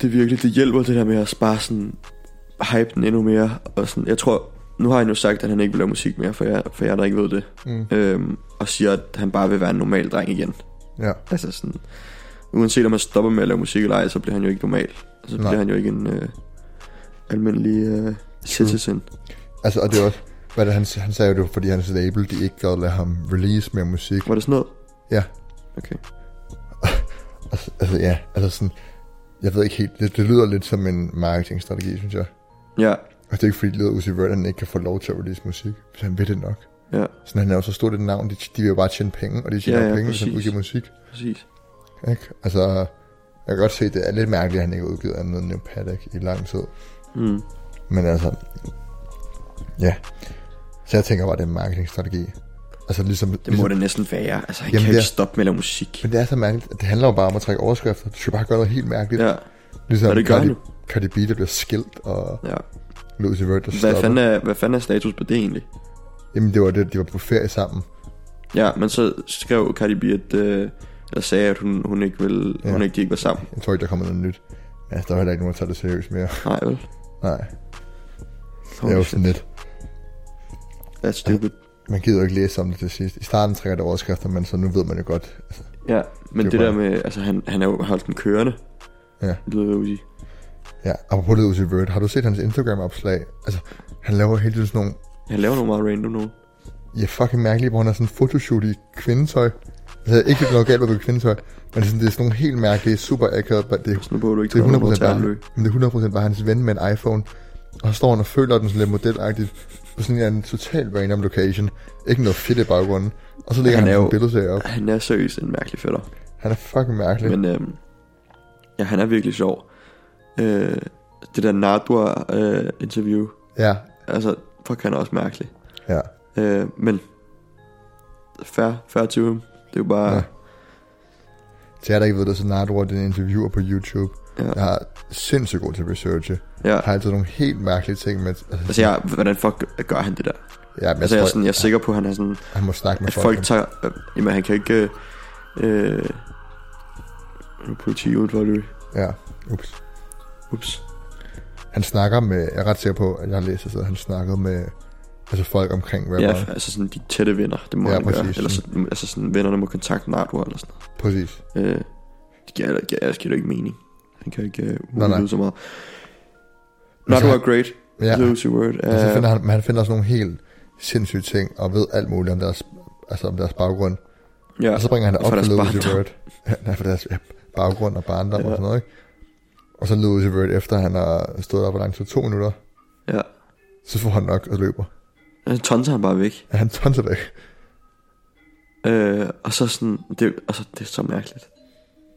A: Det virkelig, det hjælper det der med at bare sådan hype den endnu mere, og sådan, jeg tror, nu har han jo sagt, at han ikke vil lave musik mere, for jeg, for jeg der ikke ved det,
B: Mm.
A: øhm, og siger, at han bare vil være en normal dreng igen.
B: Ja.
A: Altså sådan, uanset om man stopper med at lave musik eller ej, så bliver han jo ikke normal. Altså, Så
B: Nej.
A: bliver han jo ikke en øh, almindelig øh, citizen.
B: Altså, og det er også, hvad det, han, han sagde jo, det var, fordi hans label, de ikke gad lade ham release mere musik.
A: Var det sådan noget?
B: Ja.
A: Okay.
B: Altså, altså ja, altså sådan, jeg ved ikke helt, det, det lyder lidt som en marketingstrategi, synes jeg.
A: Ja,
B: Og det er ikke fordi, det lyder Uzi Vert, at han ikke kan få lov til at release musik, hvis han vil det nok.
A: ja,
B: Sådan, han er jo så stort et navn, de, de vil jo bare tjene penge, og de tjener
A: Ja,
B: ja,
A: ja,
B: ja, penge, hvis han
A: præcis.
B: udgiver musik.
A: præcis.
B: Ikke? Altså, jeg kan godt se, det er lidt mærkeligt, at han ikke har udgivet andet end New Paddock i lang tid.
A: Mm.
B: Men altså, ja. Så jeg tænker bare, det er en marketingstrategi. Altså ligesom...
A: Det må
B: ligesom
A: det næsten være. Altså, han Jamen,
B: Jamen,
A: kan
B: det
A: ikke
B: er-
A: stoppe med at lave musik.
B: men det er så mærkeligt, at det handler jo bare om at trække overskrifter. Du skal bare gøre noget helt mærkeligt.
A: Ja,
B: ligesom
A: og det gør han
B: Cardi,
A: jo.
B: Cardi B, der bliver skilt, og
A: ja.
B: Lucy Vert, der
A: Hvad,
B: stopper.
A: fanden er, hvad fanden er status på det egentlig?
B: Jamen det var det, de var på ferie sammen.
A: Ja, men så skrev Cardi B, at, øh, eller sagde, at hun, hun ikke ville,
B: Ja.
A: ja. hun ikke, de ikke var sammen.
B: Jeg tror ikke, der kommer noget nyt. Men altså, der var heller ikke nogen, der tager det seriøst mere.
A: Nej, vel?
B: Nej, det er
A: Holy
B: jo
A: shit,
B: sådan lidt.
A: That's stupid.
B: Man gider jo ikke læse om det til sidst. I starten trækker det overskrifter, men så nu ved man jo godt. Altså,
A: Ja, men
B: Det er
A: det, det der
B: bare-
A: med, altså han, han har jo holdt den kørende.
B: Ja.
A: Det lyder jo sige.
B: ja, apropos det Uzi Vert, har du set hans Instagram-opslag? Altså, han laver hele tiden sådan nogle
A: Han laver nogle meget random nogen.
B: ja, fucking mærkelige, hvor han har sådan en fotoshoot i kvindetøj. Altså, ikke noget galt med at gå i kvindetøj, men sådan, det er sådan nogle helt mærkelige, super akavet, men det,
A: Sådan noget, du ikke
B: det er 100%
A: tage
B: bare, men det er 100% bare hans ven med en iPhone. Og så står han og føler den sådan lidt modelagtigt på sådan en eller anden total random location. Ikke noget fedt i baggrunden. Og så lægger
A: Han er
B: han, han
A: jo-
B: en billede op.
A: Han er seriøst en mærkelig fætter.
B: Han er fucking mærkelig. Men...
A: Men øhm, ja, han er virkelig sjov. Øh, det der Nardwar-interview,
B: Ja,
A: altså, fuck, han er også mærkelig.
B: ja.
A: Øh, men fair, fair to him. Det er jo bare...
B: Ja. Til jer, der ikke ved det, så Nardwar, det er en interviewer på YouTube.
A: Ja.
B: Jeg er sindssygt god til at researche.
A: ja.
B: Jeg har altid nogle helt mærkelige ting med...
A: Altså, jeg, hvordan fuck gør han det der?
B: ja, men
A: Altså, jeg er,
B: tror,
A: sådan, jeg er sikker på, at han er sådan...
B: han må snakke med
A: At
B: folk.
A: folk tager... Øh, jamen, han kan ikke... Øh, øh, nu er politi uden for at løbe.
B: Ja, ups.
A: Ups.
B: Han snakker med... Jeg er ret sikker på, at jeg har læst et sted, at han snakkede med... Altså folk omkring
A: Ja,
B: rapperen. Ja.
A: altså sådan de tætte venner, det må
B: Ja,
A: ja, han gøre.
B: præcis.
A: Eller sådan, altså sådan, vennerne må kontakte Nardwar eller sådan
B: Præcis.
A: noget. Øh, det giver, det giver, det giver jo ikke mening. Han kan ikke øh,
B: Nej, nej.
A: udvide så meget.
B: Men så
A: Nardwar
B: han-
A: er great.
B: Ja,
A: Ja. Lucy Word. Uh,
B: men så finder han, men han finder også nogle helt sindssyge ting, og ved alt muligt om deres, altså om deres baggrund.
A: Øh, ja,
B: Og så bringer han det
A: Og
B: op
A: fra
B: for
A: deres
B: Louis
A: barndom.
B: Vert. Ja, nej, for deres ja, baggrund og barndom ja.
A: Ja.
B: og sådan noget, ikke? Og så Louis Vert, efter han har stået op hvor lang tid? To minutter.
A: ja.
B: Så får han nok og løber.
A: Så tonser han Øh, bare væk.
B: Ja, han tonser væk.
A: Øh, og så sådan, det, altså, det er så mærkeligt.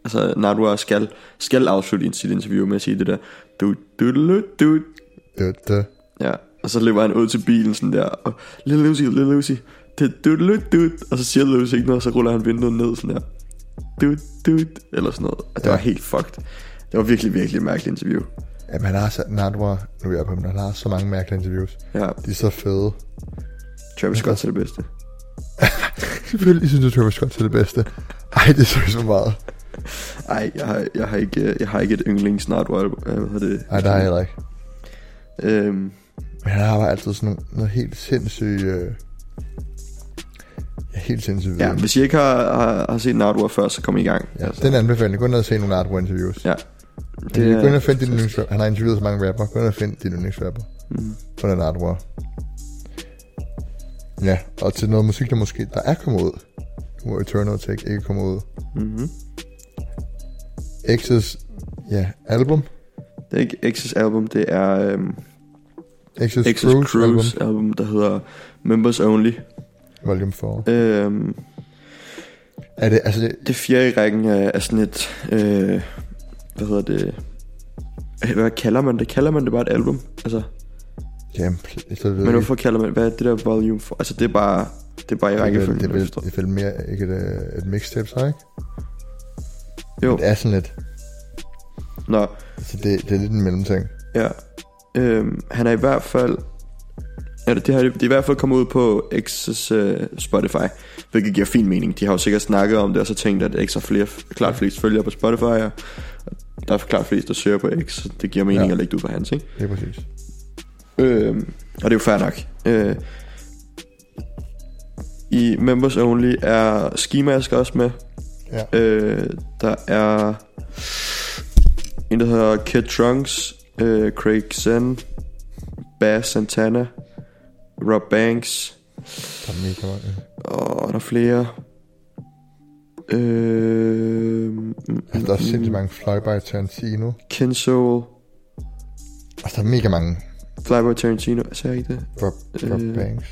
A: Altså, Nardwar skal, skal afslutte ind- sit interview med at sige det der. Du, du, du, du,
B: Det, det.
A: Ja, og så løber han ud til bilen sådan der, og Lille Lucy, Lille Lucy, det du du du og så siger Lucy ikke noget, og så ruller han vinduet ned sådan der, du du eller sådan noget. Og det
B: Ja.
A: ja. var helt fucked. Det var virkelig, virkelig et mærkeligt interview.
B: Jamen, han har så, Nardwar, nu er jeg på ham, han har så mange mærkelige interviews.
A: Ja,
B: De er så fede.
A: Travis Scott er det bedste.
B: Selvfølgelig synes jeg, Travis Scott er det bedste. Ej, det synes så meget.
A: Ej, jeg har, jeg har, ikke, jeg har ikke et yndlings snart, hvad hedder det?
B: Ej, der er jeg heller ikke.
A: Øhm,
B: Men han har bare altid sådan nogle, noget helt sindssygt... Øh... Ja, helt sindssygt
A: ja,
B: viden.
A: hvis I ikke har, har, har set Nardwar før, så kom I gang.
B: Mm. Ja, den anbefaling. Gå ned og se nogle Nardwar interviews.
A: Ja.
B: Det er... Gå ind og find
A: fantastisk.
B: din yndlingsrapper. Han har interviewet så mange rapper. Gå ind og find din yndlingsrapper.
A: Mm.
B: På den artwork. Ja, og til noget musik, der måske der er kommet ud. Nu er Eternal Tech ikke kommet ud.
A: Mm-hmm.
B: X's, ja, album.
A: Det er ikke X's album, det er... Øhm,
B: X's,
A: X's
B: Cruise,
A: Cruise
B: album.
A: album. album, der hedder Members Only.
B: Volume 4.
A: Øhm,
B: Er det, altså, det,
A: det fjerde i rækken er, er sådan et, øh, hvad hedder det, Hvad kalder man det? Kalder man det bare et album? Altså,
B: Jamen, pl- så ved
A: men
B: jeg
A: hvorfor kalder man... Hvad er det der volume for? Altså, det er bare... Det er bare i
B: ikke. det er vel,
A: rækkefølgen.
B: det er vel,
A: jeg forstår.
B: det er vel mere ikke et, øh, et mixtape, så ikke?
A: Jo,
B: Det er sådan lidt.
A: nå.
B: Så Altså, det, det er lidt en mellemting.
A: Ja. Øhm, han er i hvert fald... Ja, det, det, har, det er i hvert fald kommet ud på X's øh, Spotify, hvilket giver fin mening. De har jo sikkert snakket om det, og så tænkt, at X har flere, klart flest følgere på Spotify, og der er klart flest, der søger på X, så det giver mening
B: Ja.
A: ja. at lægge det ud på hans, ikke?
B: Det er præcis.
A: Øhm, og det er jo fair nok. Øh, I Members Only er Skimask også med.
B: Ja.
A: Øh, der er en, der hedder Kid Trunks, øh, Craig Zen, Bass Santana, Rob Banks,
B: Der er mega mange.
A: og der er flere. Øh,
B: Altså, der er sindssygt mange Flyby Tarantino.
A: Kenzo,
B: Altså, der er mega mange
A: Flyboy Tarantino, sagde jeg ikke det?
B: Rob, Rob
A: Øh.
B: Banks.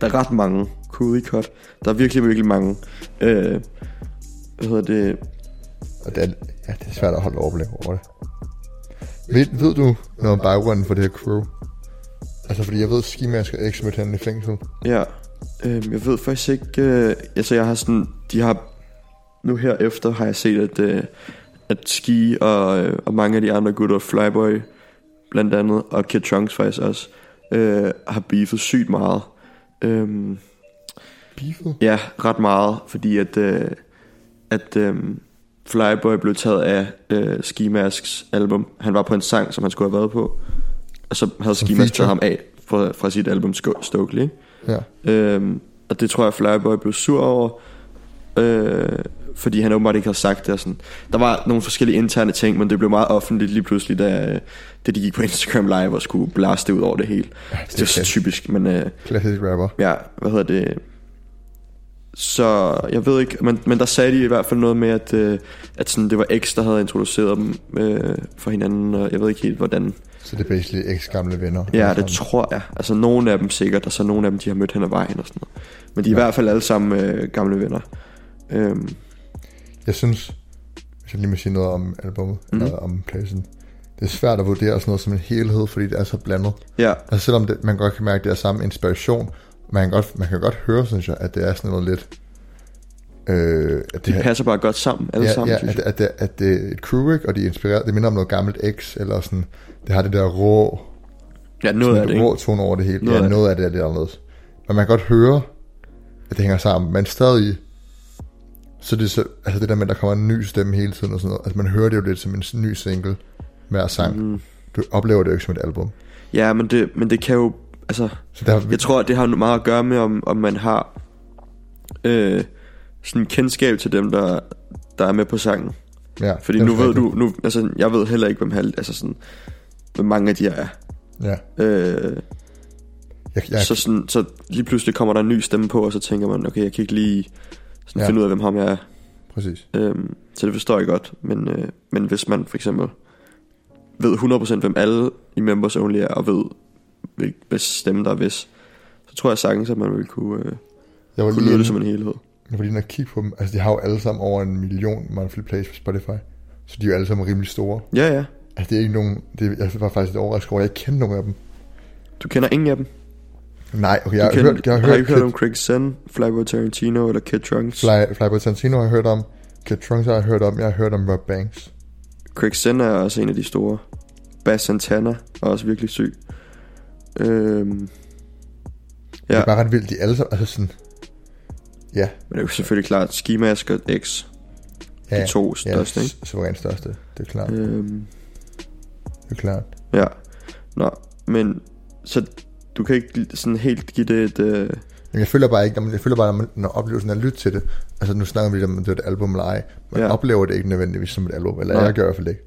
A: Der er ret mange Cooley Cut. Der er virkelig, virkelig mange. Øh, hvad hedder det?
B: Og det er, ja, det er svært at holde overblik over det. Ved, ved du noget om baggrunden for det her crew? Altså, fordi jeg ved, at Skimask og X mødte hinanden i fængsel.
A: Ja. Øh, jeg ved faktisk ikke... Øh, altså, jeg har sådan... De har... Nu her efter har jeg set, at, øh, at Ski og, øh, og mange af de andre gutter, Flyboy blandt andet, og Kid Trunks faktisk også, øh, har beefet sygt meget. Øh,
B: Beefet?
A: Ja, ret meget, fordi at, øh, at øh, Flyboy blev taget af øh, Ski Masks album. Han var på en sang, som han skulle have været på, og så havde
B: Som
A: Ski Mask
B: feature.
A: taget ham af fra, fra sit album Sk- Stokely. ikke?
B: Ja.
A: Øhm, og det tror jeg, Flyboy blev sur over, øh, fordi han åbenbart ikke havde sagt det. Og sådan. Der var nogle forskellige interne ting, men det blev meget offentligt lige pludselig, da, øh, da de gik på Instagram Live og skulle blaste ud over det hele.
B: Ja,
A: Det var så typisk, men... Øh,
B: Klassisk rapper.
A: ja, hvad hedder det... Så jeg ved ikke, men, men der sagde de i hvert fald noget med, at, øh, at sådan, det var X, der havde introduceret dem øh, for hinanden, og jeg ved ikke helt, hvordan.
B: Så det er basically X gamle venner.
A: Ja,
B: Alle
A: det
B: sammen.
A: tror jeg. Altså, nogle af dem sikkert, og så nogle af dem, de har mødt hen ad vejen og sådan noget. Men de er i hvert fald alle sammen øh, gamle venner. Øhm,
B: Jeg synes, hvis jeg lige må sige noget om albumet, mm.
A: Mhm.
B: eller om pladsen, det er svært at vurdere sådan noget som en helhed, fordi det er så blandet.
A: ja,
B: Altså selvom det, man godt kan mærke, at det er samme inspiration, man kan, godt, man kan godt høre, synes jeg, at det er sådan noget lidt... Øh, at
A: de
B: det her-
A: passer bare godt sammen, alle
B: ja,
A: sammen,
B: ja,
A: synes
B: at,
A: jeg.
B: at, det, at det er et crew, ikke? og de er inspireret. Det minder om noget gammelt X, eller sådan, det har det der rå,
A: Ja, noget af det,
B: sådan
A: ikke?
B: rå tone over det hele.
A: Noget
B: Noget ja,
A: af det.
B: noget af det er lidt anderledes. Men man kan godt høre, at det hænger sammen, men stadig, så det er så, altså det der med, at der kommer en ny stemme hele tiden og sådan noget, altså man hører det jo lidt som en ny single, hver sang. Mm. Du oplever det jo ikke som et album.
A: Ja, men det, men det kan jo... Altså,
B: Så der,
A: Jeg tror, det har meget at gøre med, om, om man har øh, sådan kendskab til dem, der, der er med på sangen.
B: ja,
A: Fordi
B: det er
A: nu ved
B: rigtigt.
A: du, nu, altså, jeg ved heller ikke, hvem, halv, altså sådan, hvem mange af de her er.
B: Ja,
A: Øh,
B: jeg,
A: ja.
B: jeg,
A: så, sådan, så lige pludselig kommer der en ny stemme på, og så tænker man, okay, jeg kan ikke lige sådan
B: Ja.
A: ja. finde ud af, hvem ham er.
B: præcis.
A: Øhm, så det forstår jeg godt. Men, øh, men hvis man for eksempel ved 100% hvem alle i Members Only er, og ved, hvilken hvis stemme der er hvis, så tror jeg sagtens, at man vil kunne, øh,
B: Jeg var
A: kunne
B: lige
A: lyde
B: inde,
A: det som en helhed.
B: jeg var lige inde og kigge på dem. Altså, de har jo alle sammen over en million monthly plays på Spotify. Så de er jo alle sammen rimelig store.
A: Ja, ja.
B: Altså, det er ikke nogen... Det, jeg var faktisk lidt overrasket over, at jeg ikke kendte nogen af dem.
A: Du kender ingen af dem.
B: Nej, okay, jeg
A: du
B: har,
A: kender,
B: hørt, jeg har,
A: har
B: hørt
A: ikke hørt om
B: Kid,
A: Craig Zen, Flyboy Tarantino eller Kid Trunks. Fly.
B: Fly, Flyboy Tarantino har jeg hørt om. Kid Trunks har jeg hørt om. Jeg har hørt om Rob Banks.
A: Craig Zen er også en af de store. Bass Santana er også virkelig syg. Øhm,
B: Ja.
A: Ja.
B: Det er bare ret vildt, de alle sammen... Altså sådan... Ja,
A: men det er jo selvfølgelig klart, Ski Mask og X, ja,
B: ja,
A: de to
B: ja,
A: største, ikke?
B: s- suverænt største. Det er klart,
A: Øhm,
B: det er klart.
A: ja. Nå, men så du kan ikke sådan helt give det et... Øh,
B: Men jeg føler bare ikke, når man, jeg føler bare, når, man, når oplevelsen er at lytte til det, altså nu snakker vi lidt om, om det er et album eller ej, man ja.
A: Ja.
B: oplever det ikke nødvendigvis som et album, eller Nej.
A: Nej.
B: jeg gør i hvert fald ikke.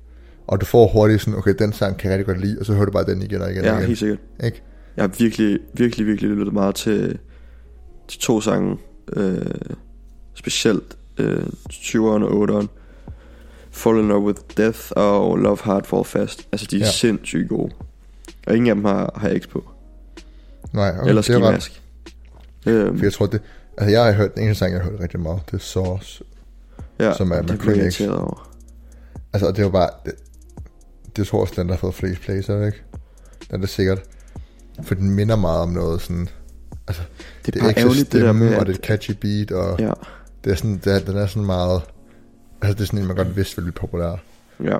B: Og du får hurtigt sådan, okay, den sang kan jeg rigtig godt lide, og så hører du bare den igen og igen og
A: ja,
B: igen.
A: helt sikkert.
B: Ikke?
A: Jeg har virkelig, virkelig, virkelig lyttet meget til, til to sange. Øh, specielt øh, 20'eren og 8'eren. Fall in Love with Death og Love Hard Fall Fast. Altså, de er
B: Ja.
A: ja. sindssygt gode. Og ingen af dem har, har X på.
B: Nej,
A: Okay,
B: okay,
A: Eller
B: det er ret.
A: Skimask. Øhm,
B: For jeg tror, det, altså jeg har hørt, den eneste sang, jeg har hørt rigtig meget, det er Sauce.
A: ja,
B: som er med
A: det blev jeg
B: Queen X.
A: irriteret over.
B: Altså, og det var bare, det, det tror jeg også, den der har fået flest plays, er det ikke? Den er det sikkert. For den minder meget om noget sådan... Altså,
A: Det er
B: det er
A: bare
B: ikke så
A: ærgerligt, det der
B: stemme,
A: med,
B: det og
A: at,
B: det er et catchy beat, og
A: ja,
B: det er sådan, det er, den er sådan meget... Altså, det er sådan en, man godt vidste ville blive populær.
A: ja.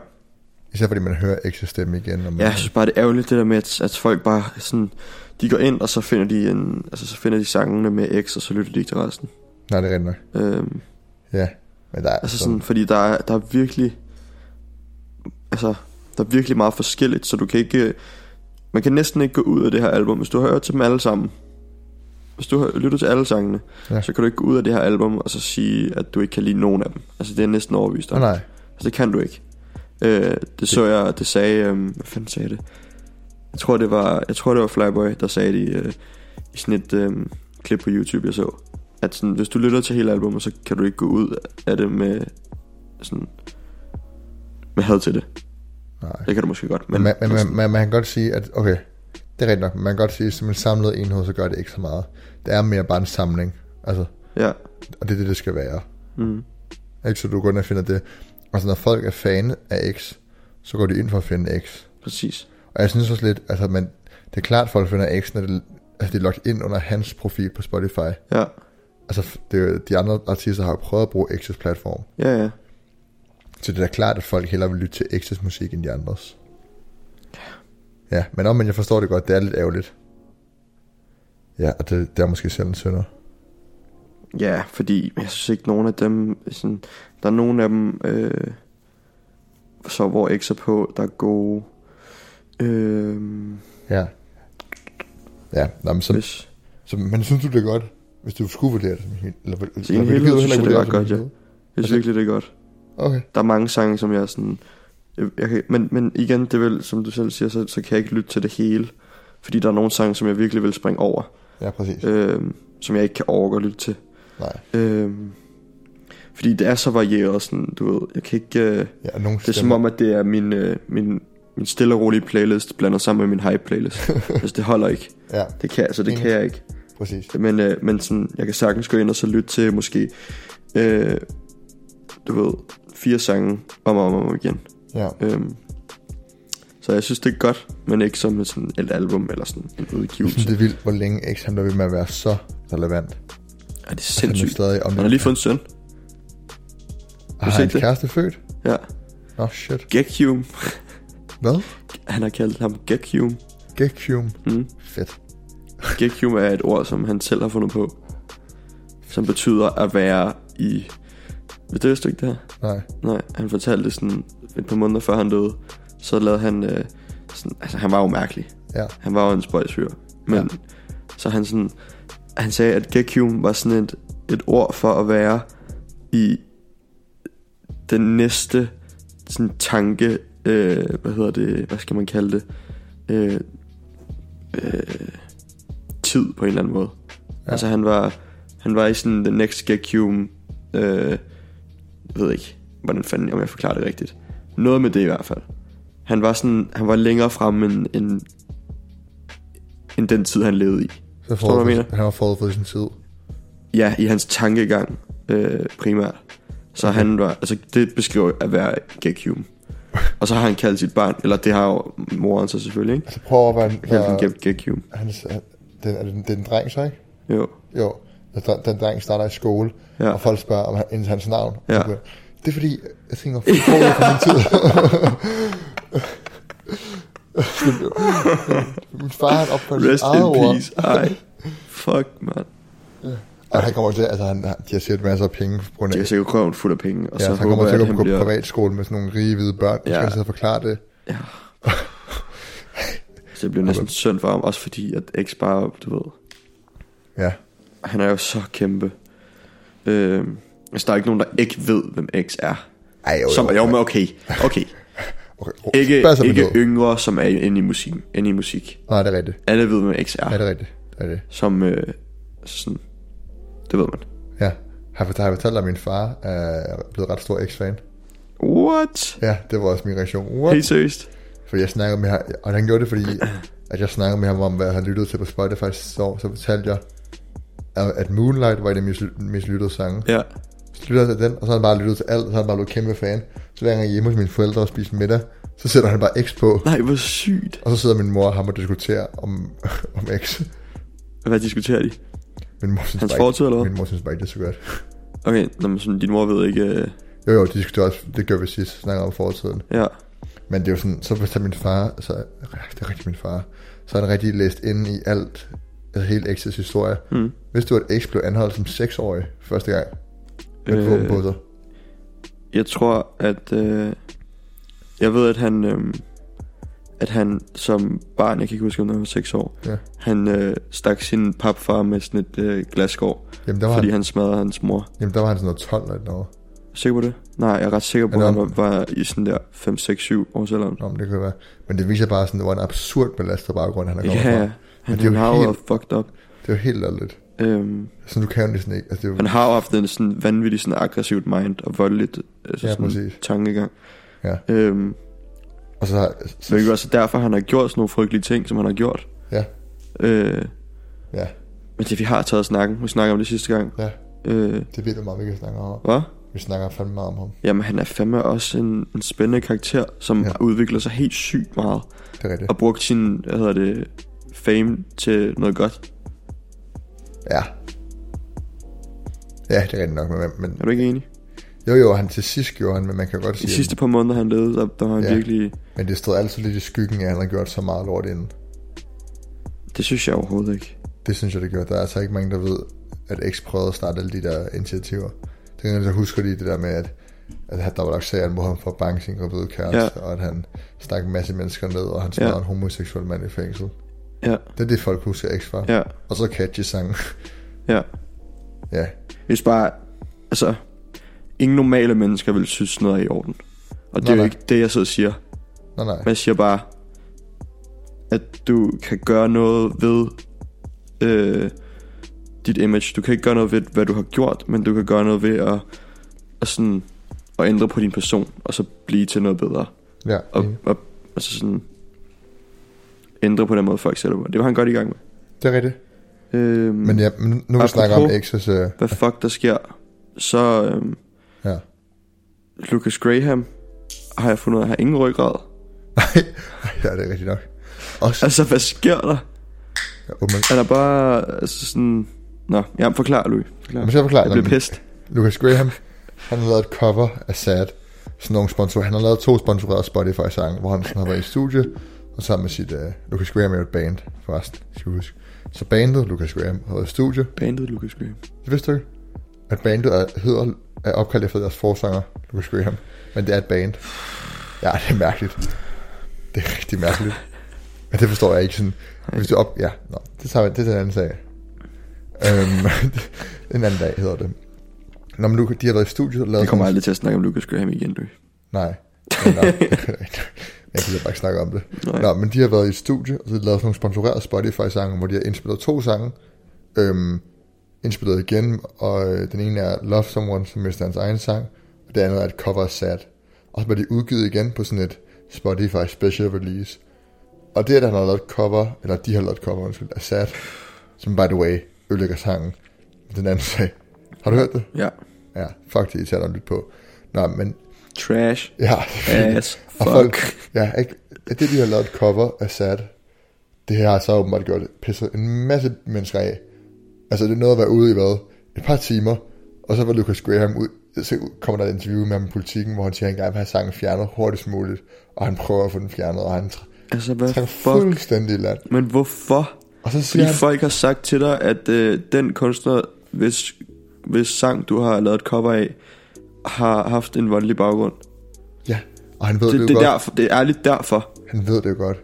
B: Især fordi man hører ekstra stemme igen. Og man,
A: ja, jeg synes bare, det er ærgerligt, det der med, at, at folk bare sådan, de går ind, og så finder de, en, altså, så finder de sangene med X, og så lytter de ikke til resten.
B: Nej, det er rigtigt nok.
A: Øhm,
B: Ja, men der er
A: altså sådan, fordi der er, der er virkelig, altså, der er virkelig meget forskelligt, så du kan ikke, man kan næsten ikke gå ud af det her album, hvis du hører til dem alle sammen. Hvis du hø- lytter til alle sangene,
B: Ja.
A: ja. så kan du ikke gå ud af det her album og så sige, at du ikke kan lide nogen af dem. Altså, det er jeg næsten overbevist
B: Åh,
A: om.
B: nej.
A: Altså, det kan du ikke. Øh, det så jeg, og det sagde... Øh, hvad fanden sagde det? Jeg tror, det var, jeg tror, det var Flyboy, der sagde det i, øh, i sådan et øh, klip på YouTube, jeg så. At sådan, hvis du lytter til hele albumet, så kan du ikke gå ud af det med sådan med had til det.
B: nej.
A: Det kan du måske godt,
B: Men,
A: men,
B: man, men man,
A: sådan,
B: man, man, kan godt sige, at okay, det er rigtigt nok. men Man kan godt sige, at som en samlet enhed, så gør det ikke så meget. Det er mere bare en samling. Altså,
A: ja.
B: og det er det, det skal være.
A: Mm,
B: Ikke? Så du går ind og finder det. Og så når folk er fan af X, så går de ind for at finde X.
A: præcis.
B: Og jeg synes også lidt, altså, men det er klart, at folk finder X, når det, altså, de er logget ind under hans profil på Spotify.
A: Ja,
B: Altså, f- det, er jo- de andre artister har jo prøvet at bruge X's platform.
A: ja, ja.
B: Så det er da klart, at folk hellere vil lytte til X's musik end de andres. Ja, men om, men jeg forstår det godt, det er lidt ærgerligt. Ja, og det, det er måske selv en synder.
A: Ja, fordi jeg synes ikke, nogen af dem... Sådan, der er nogen af dem, øh, så hvor X er på, der er gode... Øh,
B: Ja. Ja, nå, men så,
A: hvis,
B: så, men synes du det er godt, hvis du skulle vurdere det som en hel- eller, eller,
A: Så i en
B: eller-
A: helhed
B: du
A: synes jeg,
B: vurdere
A: det er ret
B: som en
A: godt,
B: helhed?
A: Jeg synes virkelig, det er godt.
B: Okay.
A: Der er mange sange, som jeg er sådan... Jeg, jeg kan, men, men igen, det er vel, som du selv siger, så, så kan jeg ikke lytte til det hele. Fordi der er nogle sange, som jeg virkelig vil springe over.
B: Ja, præcis.
A: Øh, som jeg ikke kan overgå at lytte til.
B: Nej.
A: Øh, fordi det er så varieret, sådan, du ved. Jeg kan ikke... Øh,
B: Ja, og nogen
A: det er som om, at det er min, øh, min, min stille og rolige playlist blandet sammen med min hype playlist. altså, det holder ikke.
B: Ja,
A: Det kan, altså, det kan jeg ikke.
B: præcis.
A: Men, øh, men sådan, jeg kan sagtens gå ind og så lytte til måske, øh, du ved, fire sange om og om, og om igen.
B: Ja,
A: Øhm, så jeg synes, det er godt, men ikke som et, sådan et album eller sådan en
B: jeg synes,
A: udgivelse.
B: det er vildt, hvor længe X han blev ved med at være så relevant.
A: Ej, det er
B: Altså, Han er
A: sindssygt.
B: stadig om
A: Han har lige fået en søn.
B: Har
A: set
B: han
A: det?
B: kæreste født?
A: Ja.
B: Nå, oh, shit.
A: Gekium.
B: Hvad?
A: Han har kaldt ham Gekium.
B: Gekium.
A: Mm.
B: Fedt.
A: Gekium er et ord, som han selv har fundet på. Som betyder at være i... Ved det vidste du ikke det her?
B: Nej.
A: Nej, han fortalte det sådan et par måneder før han døde. Så lavede han... Øh, sådan, altså, han var jo mærkelig.
B: Ja.
A: Han var jo en spøjsfyr. Men
B: Ja.
A: ja. så han sådan... Han sagde, at Gekium var sådan et, et ord for at være i den næste sådan tanke... Øh, hvad hedder det? Hvad skal man kalde det? Øh, øh, tid på en eller anden måde.
B: Ja.
A: Ja. Altså han var, han var i sådan the next Gekium... Øh, jeg ved ikke, hvordan fanden, om jeg forklarer det rigtigt. Noget med det i hvert fald. Han var sådan, han var længere frem end, end, end den tid, han levede i.
B: Så
A: Forstår du, hvad jeg
B: forud- han var forud for sin tid.
A: Ja, i hans tankegang øh, primært. Så okay. han var, altså det beskriver at være Gekium. Og så har han kaldt sit barn, eller det har jo moren så selvfølgelig, ikke?
B: Altså prøv at være...
A: Kaldt ja. den Gekium.
B: han, han, den, er det, den- det er en dreng, så ikke?
A: Jo.
B: Jo. Altså, den- den dreng starter i skole, ja.
A: Ja.
B: og folk spørger om han, hans navn. Og
A: Ja.
B: så bliver- Det er fordi, jeg tænker, forud for min tid. min far, han opfandt Altså, sit
A: Rest
B: eget
A: in
B: ord.
A: peace. Ej. Fuck, mand.
B: Og han kommer til, altså han, han- de har set masser af penge på grund af,
A: Det er
B: yes,
A: sikkert røven fuld af penge, og så,
B: ja, så han
A: håber
B: kommer
A: jeg,
B: til
A: at
B: at
A: han
B: gå på
A: bliver...
B: privatskole med sådan nogle rige hvide børn, der
A: Ja.
B: skal sidde og forklare det.
A: Ja. Så det blev næsten synd for ham, også fordi at X bare, du ved,
B: Ja,
A: han er jo så kæmpe. Øh, altså, der er ikke nogen, der ikke ved, hvem X er.
B: Ej, jo, jo,
A: som,
B: jo.
A: jo, men okay, okay.
B: okay.
A: Ikke,
B: Spørg så om
A: ikke
B: noget.
A: yngre, som er inde i musik. Inde i musik.
B: Nej, det er rigtigt.
A: Alle ved, hvem X
B: Ja, det
A: er.
B: er rigtigt. Det er det.
A: Som, øh, sådan, det ved man.
B: Ja. Har jeg fortalt- har jeg fortalt dig, at min far er blevet ret stor X-fan?
A: What?
B: Ja, det var også min reaktion. What?
A: Helt seriøst?
B: Fordi jeg snakkede med ham, og han gjorde det, fordi at jeg snakkede med ham om, hvad han lyttede til på Spotify sidste år, så fortalte jeg, at at Moonlight var en af de mest- mest lyttede sange.
A: Ja.
B: Så lytter han til den, og så har han bare lyttet til alt, og så har han bare blevet kæmpe fan. Så hver gang jeg er hjemme hos mine forældre og spiser middag, så sætter han bare X på.
A: Nej, hvor sygt.
B: Og så sidder min mor og ham og diskuterer om, om X.
A: Hvad diskuterer de?
B: Min mor synes
A: Hans
B: bare
A: fortid, eller
B: ikke,
A: hvad?
B: min mor synes bare ikke, det er så godt.
A: Okay, nå, men sådan, din mor ved ikke... Øh,
B: Jo jo, de diskuterer også, det gør vi sidst, snakker om fortiden.
A: ja,
B: Men det er jo sådan, så hvis der er min far, så det er rigtig min far, så har han rigtig læst ind i alt, altså hele X's historie.
A: Mm.
B: Hvis du, at X blev anholdt som 6-årig første gang, med øh... våben på sig.
A: jeg tror, at... Øh, jeg ved, at han... Øh, at han som barn, jeg kan ikke huske, om han var 6 år,
B: Ja.
A: han øh, stak sin papfar med sådan et øh, glasskår,
B: Jamen der, var
A: fordi
B: han,
A: han smadrede hans mor.
B: jamen der var han sådan noget 12 eller noget.
A: Sikker på det? Nej, jeg er ret sikker på, at
B: Er
A: han
B: det
A: var, var i sådan der 5, 6, 7 års alderen.
B: Nå, men det kan være. Men det viser bare sådan, hvor en absurd belastet baggrund han er
A: Ja,
B: kommet
A: ja.
B: fra.
A: Han,
B: det er
A: han
B: jo
A: har jo
B: helt-
A: været fucked up.
B: Det er jo helt ærligt.
A: Øhm,
B: Så du kan jo næsten ikke. Altså, det er jo,
A: han har jo haft en sådan vanvittig sådan aggressivt mind og voldeligt altså
B: Ja,
A: ja, sådan
B: præcis.
A: tankegang.
B: Ja.
A: Øhm,
B: og så har...
A: så det er jo også derfor, han har gjort sådan nogle frygtelige ting, som han har gjort.
B: Ja.
A: Øh,
B: Ja,
A: men det, vi har taget snakken. Vi snakker om det sidste gang.
B: Ja.
A: Øh,
B: det ved du meget, vi kan snakke om.
A: hvad?
B: Vi snakker fandme meget om ham.
A: Jamen, han er fandme også en, en spændende karakter, som
B: Ja.
A: ja. udvikler sig helt sygt meget.
B: Det er rigtigt.
A: Og brugt sin, hvad hedder det, fame til noget godt.
B: Ja. Ja, det er rigtigt nok. Men, men
A: Er du ikke enig?
B: jo, jo, han til sidst gjorde han, men man kan godt
A: De
B: sige,
A: sidste par måneder, han levede, der, der var han
B: Ja.
A: ja. virkelig...
B: men det stod altid lidt i skyggen, at han havde gjort så meget lort inden.
A: Det synes jeg overhovedet ikke.
B: Det synes jeg, det gjorde. Der er altså ikke mange, der ved, at X prøvede at starte alle de der initiativer. Det kan jeg så husker lige det der med, at, at han- der var lagt sager mod ham for at banke sin gravide kæreste, ja. og at han stak en masse mennesker ned, og han smadrede ja.
A: Ja.
B: en homoseksuel mand i fængsel.
A: Ja,
B: Det er det, folk husker X fra.
A: ja,
B: Og så catchy sangen.
A: ja.
B: ja,
A: Hvis bare, altså, ingen normale mennesker vil synes sådan noget er i orden. Og det
B: Nej,
A: er jo
B: nej.
A: ikke det, jeg sidder og siger.
B: nej nej.
A: Men jeg siger bare, at du kan gøre noget ved øh, dit image. Du kan ikke gøre noget ved, hvad du har gjort, men du kan gøre noget ved at, at, sådan, at ændre på din person, og så blive til noget bedre.
B: Ja,
A: Og,
B: enig.
A: og altså sådan, ændre på den måde, folk ser det på. Det var han godt i gang med.
B: det er rigtigt.
A: Øhm,
B: Men ja, men nu vi
A: Apropos-
B: snakker om X, så
A: hvad fuck der sker, så øhm,
B: Ja.
A: Lucas Graham har jeg fundet ud af, har ingen ryggrad.
B: Nej, ja, det er rigtigt nok. Også,
A: Altså, hvad sker der?
B: ja, oh, man,
A: Han er bare altså sådan... Nå, jamen forklar, Louis. Forklar.
B: man skal forklare,
A: Jeg bliver
B: jamen,
A: pissed.
B: Lucas Graham, han har lavet et cover af Sad, sådan nogle sponsorer. Han har lavet to sponsorerede Spotify-sange, hvor han sådan har været i studie, og sammen med sit, uh, Lucas Graham er jo et band, forresten, skal vi huske. Så bandet, Lucas Graham, har været i studie.
A: Bandet Lucas Graham.
B: Det vidste du ikke? At bandet er, hedder, er opkaldt efter deres forsanger, Lucas Graham. Men det er et band. Ja, det er mærkeligt. Det er rigtig mærkeligt. Men det forstår jeg ikke sådan. Hvis du op... Ja, nå, det, tager, vi- det er en anden sag. Øhm, en anden dag hedder det. Nå, men nu, de har været i studiet og lavet...
A: Jeg kommer
B: sådan-
A: aldrig til at snakke om Lucas Graham igen, Louis.
B: Nej. Men nå, det er rigtigt. jeg kan bare ikke snakke om det.
A: Nej.
B: Nå, men de har været i et studie, og så har de lavet sådan nogle sponsorerede Spotify-sange, hvor de har indspillet to sange. Øhm, indspillet igen, og øh, den ene er Love Someone, som er hans egen sang, og det andet er et cover af Sad. Og så bliver de udgivet igen på sådan et Spotify special release. Og det, at han har lavet et cover, eller de har lavet et cover, undskyld, af Sad, som by the way, ødelægger sangen, den anden sag. Har du hørt det?
A: Ja.
B: Ja, fuck det, I tager at lytte på. Nå, men
A: Trash.
B: ja,
A: Ass.
B: og
A: Fuck.
B: folk, ja, ikke, at det de har lavet et cover af Sad, det her har så åbenbart gjort pisset en masse mennesker af. Altså det er noget at være ude i hvad? Et par timer, og så var Lucas Graham ud, så kommer der et interview med ham i politikken, hvor han siger, at han gerne vil have sangen fjernet hurtigst muligt, og han prøver at få den fjernet, og han tr-
A: Altså, hvad
B: trækker
A: fuck?
B: fuldstændig i land.
A: Men hvorfor?
B: Og så siger
A: Fordi
B: han,
A: folk har sagt til dig, at øh, den kunstner, hvis, hvis sang du har lavet et cover af, har haft en voldelig baggrund.
B: ja, og han ved det,
A: Det,
B: jo
A: det, er
B: godt.
A: derfor, det er ærligt derfor.
B: Han ved det jo godt.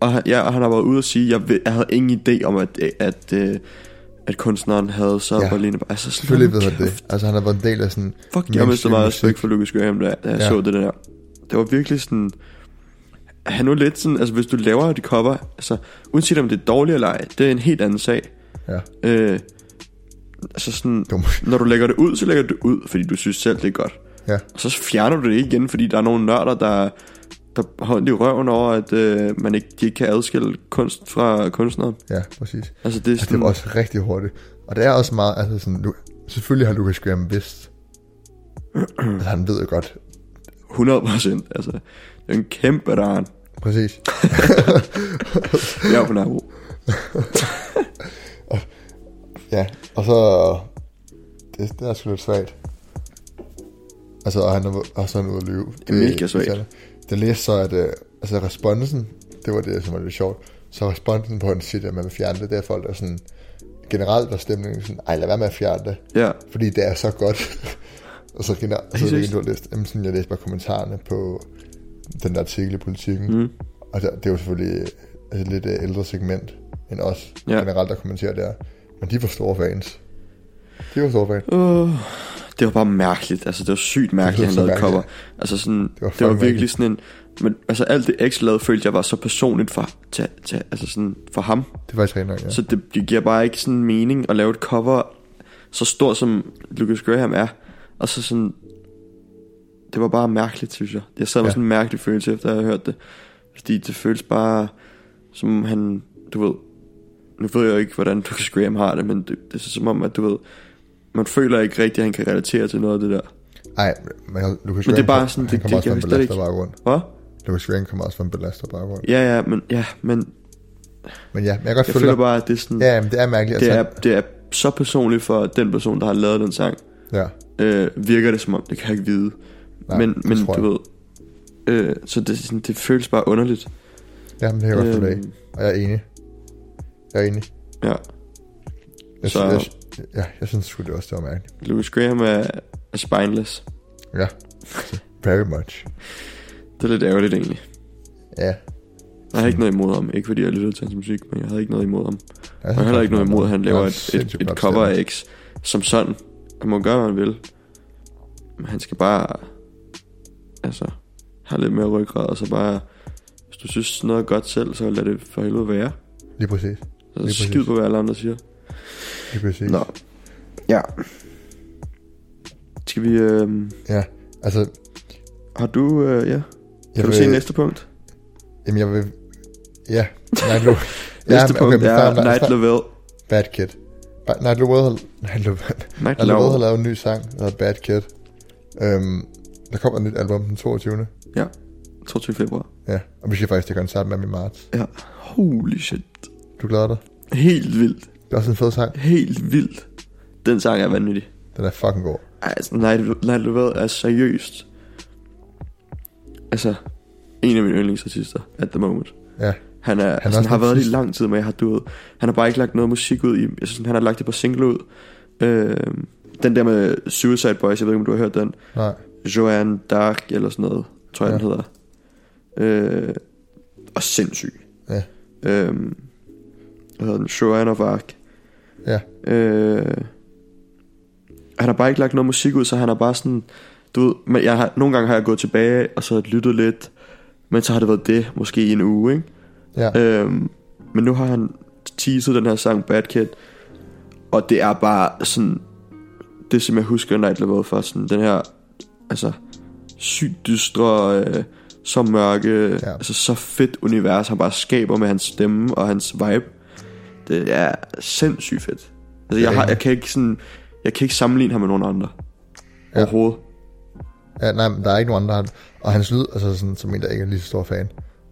A: Og han, ja, og han har været ude og sige, jeg, ved, jeg havde ingen idé om, at, at, at, at kunstneren havde så
B: Ja,
A: ja, voldelig... Altså, sådan
B: Selvfølgelig ved
A: noget
B: han det. Altså han har været en del af sådan...
A: Fuck, jeg mistede
B: mainstream
A: meget
B: musik.
A: respekt for Lucas Graham, da da jeg
B: Ja.
A: ja. så det der. Det var virkelig sådan... Han var lidt sådan... Altså, hvis du laver et cover... Altså, uanset om det er dårligt eller ej, det er en helt anden sag.
B: Ja,
A: Øh, altså sådan...
B: dum.
A: Når du lægger det ud, så lægger du det ud, fordi du synes selv, det er godt.
B: Ja.
A: Og så fjerner du det igen, fordi der er nogle nørder, der, der har ondt i røven over, at øh, man ikke, de ikke kan adskille kunst fra kunstneren.
B: Ja, præcis.
A: Altså, det er
B: Altså, det
A: sådan...
B: var også rigtig hurtigt. Og det er også meget, altså sådan, Lu- selvfølgelig har Lucas Graham vidst, altså, han ved jo godt.
A: 100%. Altså, det er en kæmpe darn.
B: Præcis.
A: Jeg er på Nørrebro.
B: Ja, og så... Det, det er sgu lidt svagt. Altså, og han er og så er han ude at lyve. Det,
A: mega svagt.
B: irriterende. Det læste så, at øh, altså, responsen, det var det, som var lidt sjovt, så responsen på en side, at man vil fjerne det, der er folk, der sådan, generelt var stemningen sådan, ej, lad være med at fjerne det,
A: Ja,
B: fordi det er så godt. og så generelt, så er det
A: Præcis.
B: ikke, du har læst. Jamen, sådan, jeg læste bare kommentarerne på den der artikel i politikken,
A: mm.
B: og det, det er jo selvfølgelig et lidt øh, ældre segment end os
A: Ja.
B: ja. generelt, der kommenterer der. Men de var store fans. De var store fans.
A: Uh, det var bare mærkeligt. Altså, det var sygt mærkeligt,
B: Det
A: han
B: var så
A: lavede cover.
B: mærkeligt.
A: Altså, sådan, det var,
B: var
A: det var
B: fucking
A: virkelig sådan en... Men altså, alt det X lavede, følte jeg var så personligt for, til, til, altså sådan, for ham.
B: Det var i træning, ja.
A: Så det, det giver bare ikke sådan mening at lave et cover så stort som Lucas Graham er. Og så sådan... Det var bare mærkeligt, synes jeg. Jeg sad med
B: Ja.
A: sådan en mærkelig følelse, efter jeg havde hørt det. Fordi det føles bare, som han... Du ved... Nu ved jeg jo ikke, hvordan Lucas Graham har det, men det, det er så som om, at du ved... Man føler ikke rigtigt, at han kan relatere til noget af det der.
B: Nej, men Lucas Graham,
A: det er bare sådan,
B: han,
A: det-
B: han kommer
A: det-
B: også
A: jeg
B: fra
A: kan
B: en
A: slet
B: belastet
A: ikke-
B: baggrund.
A: Hvad?
B: Lucas Graham kommer også fra en belastet baggrund.
A: Ja, ja, men, ja, men
B: Men ja, men jeg kan
A: jeg
B: godt følge
A: føler
B: dig.
A: bare, at det er sådan...
B: Ja, men det er mærkeligt.
A: det,
B: altså,
A: er, det er så personligt for den person, der har lavet den sang.
B: Ja,
A: øh, virker det som om, det kan jeg ikke vide.
B: Nej,
A: men
B: det
A: men
B: tror
A: du ved, øh, så det, er sådan, det føles bare underligt.
B: ja men det kan jeg godt følge dig. i.
A: Øhm,
B: Og jeg er enig. Jeg er enig.
A: ja, Så-
B: Jeg, så... jeg, ja, jeg synes sgu, det også det var mærkeligt.
A: Louis Graham er, er spineless.
B: Ja, very much.
A: Det er lidt ærgerligt egentlig.
B: Ja.
A: Jeg har ikke noget imod ham. Ikke fordi jeg lytter til hans musik, men jeg havde ikke noget imod ham.
B: Jeg
A: Og jeg
B: synes
A: har heller
B: faktisk,
A: ikke noget imod, at han laver
B: er
A: et, et,
B: sindssygt
A: et
B: flot
A: cover
B: stemme.
A: af X som sådan. Han må gøre, hvad han vil. Men han skal bare... Altså, have lidt mere ryggrad, og så bare... Hvis du synes noget er godt selv, så lad det for helvede være.
B: Lige præcis.
A: Så
B: præcis.
A: skid på, hvad alle andre siger.
B: Lige præcis.
A: Nå. Ja. Skal vi... Øh,
B: Ja, altså...
A: har du... Øh, ja. Kan
B: jeg
A: du
B: vil-
A: se næste punkt?
B: Jamen, jeg vil... Ja, Night Low.
A: Næste
B: men-
A: punkt
B: men
A: er
B: start-
A: Night
B: start-
A: Lovell.
B: Bad Kid. Ba- Night Low har... Night Low...
A: Night
B: Night Low har
A: Lovell.
B: lavet en ny sang, der hedder Bad Kid. Øhm, der kommer et nyt album den 22.
A: 22. februar.
B: Ja, og vi skal faktisk til koncert med ham i marts.
A: Ja. Holy shit.
B: Du glæder dig.
A: Helt vildt.
B: Det er også en fed sang.
A: Helt vildt. Den sang er vanvittig.
B: Den er fucking god.
A: Ej, Altså, Night, Night Lovell er seriøst. Altså, en af mine yndlingsartister at the moment.
B: Ja,
A: Han, er, han
B: også
A: altså, han har
B: den
A: været det i
B: sidste.
A: lang tid, men jeg har duet. Han har bare ikke lagt noget musik ud i. Jeg synes, han har lagt det på single ud. Øh, den der med Suicide Boys, jeg ved ikke, om du har hørt den.
B: nej.
A: Joanne Dark eller sådan noget, tror jeg, ja.
B: Ja.
A: den hedder. Øh, og sindssyg.
B: Ja.
A: Øh, hvad hedder den? Joanne of Arc.
B: Ja.
A: Øh, han har bare ikke lagt noget musik ud, så han er bare sådan... Du ved, men jeg har, nogle gange har jeg gået tilbage, og så lyttet lidt, men så har det været det, måske i en uge, ikke?
B: Ja,
A: Øhm, men nu har han teaset den her sang Bad Kid, og det er bare sådan, det som jeg husker Night Lovell for, sådan den her, altså, sygt dystre, øh, så mørke, ja. altså så fedt univers, han bare skaber med hans stemme og hans vibe. Det er sindssygt fedt. Altså, jeg, har, jeg kan ikke sådan, jeg kan ikke sammenligne ham med nogen andre. Ja.
B: Ja.
A: Overhovedet.
B: ja nej, men der er ikke nogen andre. der har- Og hans lyd, altså sådan, som en, der ikke er lige så stor fan,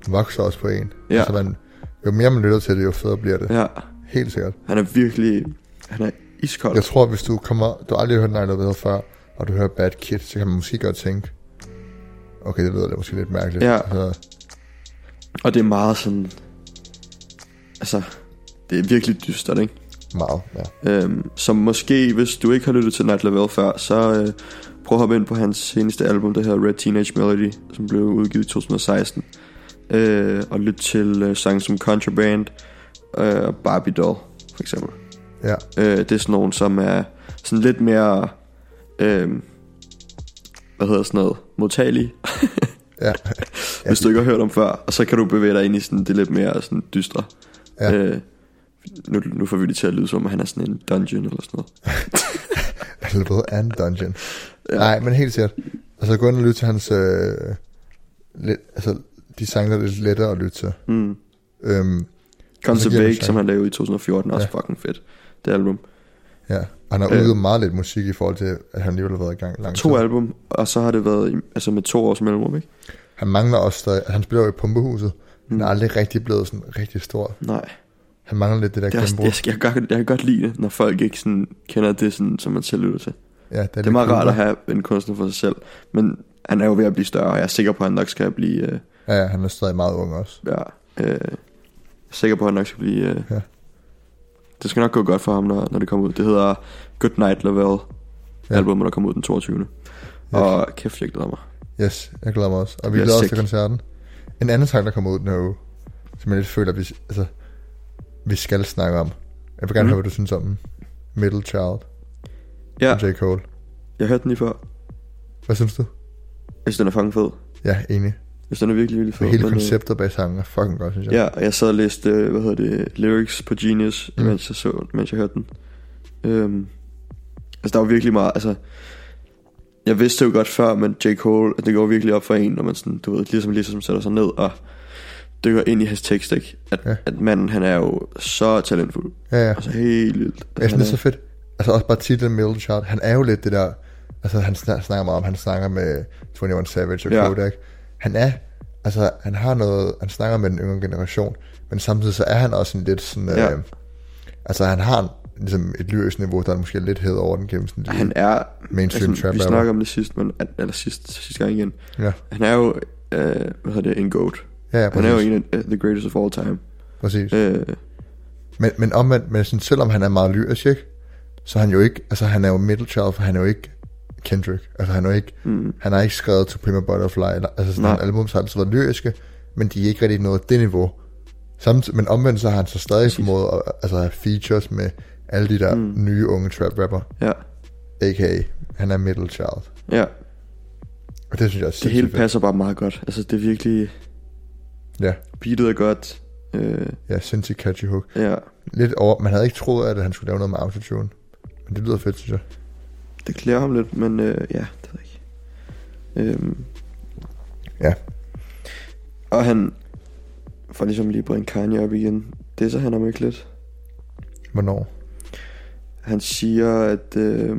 B: vokser også på en.
A: Ja.
B: Altså, man, jo mere man lytter til det, jo federe bliver det.
A: Ja,
B: Helt sikkert.
A: han er virkelig, han er iskold.
B: Jeg tror, hvis du kommer... Du har aldrig hørt Night Lovell før, og du hører Bad Kid, så kan man måske godt tænke... Okay, det lyder da måske lidt mærkeligt.
A: Ja.
B: Altså,
A: Og det er meget sådan... Altså, det er virkelig dystert, ikke?
B: meget, ja.
A: Øhm, som måske, hvis du ikke har lyttet til Night Level før, så øh, prøv at hoppe ind på hans seneste album, der hedder Red Teenage Melody, som blev udgivet i 2016. Øh, og lyt til øh, sange som Contraband øh, og Barbie Doll, for eksempel.
B: Ja,
A: Øh, det er sådan nogle, som er sådan lidt mere... Øh, hvad hedder sådan noget? Modtagelige,
B: ja.
A: ja, hvis du ikke har hørt om før, og så kan du bevæge dig ind i sådan det lidt mere sådan dystre.
B: Ja.
A: Øh, nu, nu får vi det til at lyde som, om han er sådan en dungeon eller sådan noget.
B: Helvede er en dungeon. Ja. Nej, men helt sikkert. Altså, gå ind og lyt til hans... Øh, lidt, altså, de sange, der er lidt lettere at lytte til.
A: Mm.
B: Øhm,
A: Guns
B: Så
A: N'
B: giver det
A: Bake,
B: sig.
A: som han lavede i 2014, er også fucking fedt, det album.
B: ja. Og han har udgivet øh, meget lidt musik i forhold til, at han alligevel har været i gang lang
A: To
B: tid.
A: album, og så har det været i- altså med to års mellemrum, ikke?
B: Han mangler også stadig, altså, han spiller jo i Pumpehuset. Han er
A: Mm.
B: aldrig rigtig blevet sådan rigtig stor.
A: Nej,
B: Han mangler lidt det der
A: det er også,
B: gennembrud.
A: jeg, jeg, kan godt, jeg kan godt lide det, når folk ikke sådan kender det, sådan, som man selv lytter til.
B: Ja, det er,
A: Det er meget rart at have en kunstner for sig selv, men han er jo ved at blive større, og jeg er sikker på, at han nok skal blive... Øh,
B: Ja, ja, han er stadig meget ung også.
A: ja, øh, jeg er sikker på, at han nok skal blive... Øh,
B: Ja.
A: ja. Det skal nok gå godt for ham, når, når det kommer ud. Det hedder Good Night Lavelle,
B: Ja.
A: ja. albumet, der kommer ud den 22. Yes.
B: Yes.
A: Og kæft, jeg glæder mig.
B: Yes, jeg glæder mig også. Og vi
A: bliver
B: glæder os
A: sick.
B: til koncerten. En anden sang, der kommer ud den her uge, som jeg lidt føler, at vi, altså, vi skal snakke om. Jeg vil gerne mm.
A: Mhm.
B: høre, hvad du synes om den. Middle Child
A: Ja,
B: ja. J. Cole.
A: jeg hørte den lige før.
B: Hvad synes du?
A: Jeg synes, den er fucking fed.
B: Ja, enig.
A: Jeg synes, den er virkelig, virkelig
B: For
A: fed.
B: hele
A: men, øh,
B: konceptet bag sangen er fucking godt, synes jeg.
A: Ja, og jeg sad og læste, øh, hvad hedder det, lyrics på Genius,
B: Mm.
A: mm. mens jeg så, mens jeg hørte den. Øhm, altså, der var virkelig meget, altså... Jeg vidste det jo godt før, men J. Cole, at det går virkelig op for en, når man sådan, du ved, ligesom, ligesom sætter sig ned og dykker ind i hans tekst, ikke? At,
B: Ja.
A: ja. at manden, han er jo så talentfuld.
B: Ja, ja.
A: Altså, helt vildt.
B: Jeg
A: Altså,
B: synes, det er
A: han
B: så fedt. Altså også bare titlen Middle Child. Han er jo lidt det der... Altså han snak- snakker meget om, han snakker med 21 Savage og ja.
A: Ja.
B: Kodak. Han er... Altså han har noget... Han snakker med den yngre generation. Men samtidig så er han også en lidt sådan... Ja.
A: Ja.
B: Øh, altså han har en, ligesom et lyrisk niveau, der er måske lidt hed over den gennemsnitlige.
A: han er... altså,
B: mainstream trap
A: vi
B: rapper.
A: snakker om det sidst, men, at, eller sidste, sidste gang igen.
B: Ja,
A: Han er jo, øh, hvad hedder det, en goat.
B: ja, ja
A: Han er jo
B: præcis.
A: en af uh, the greatest of all time.
B: præcis.
A: Øh,
B: Men, men omvendt, men sådan, selvom han er meget lyrisk, ikke? så er han jo ikke... Altså han er jo Middle Child, for han er jo ikke Kendrick. Altså han er jo ikke...
A: mm,
B: Han har ikke skrevet til Prima Butterfly, eller, altså sådan
A: Nej.
B: nogle album, så har altid været lyriske, men de er ikke rigtig nået det niveau. Samtidig, men omvendt så har han så stadig
A: Præcis.
B: formået at altså, have features med alle de der mm.
A: Mm.
B: nye unge trap rapper,
A: ja,
B: a.k.a. han er middle child.
A: ja.
B: Og det synes jeg er
A: Det
B: sindssygt
A: hele
B: fedt.
A: passer bare meget godt. Altså, det er virkelig...
B: Ja.
A: Beatet er godt. Øh,
B: Ja, sindssygt catchy hook.
A: ja,
B: Lidt over, man havde ikke troet, at han skulle lave noget med autotune. Men det lyder fedt, synes jeg.
A: det klæder ham lidt, men øh, ja, det ved jeg ikke. Øhm,
B: Ja.
A: Og han... For ligesom lige at bringe Kanye op igen, det er så han om ikke lidt.
B: Hvornår?
A: Han siger, at... Øh,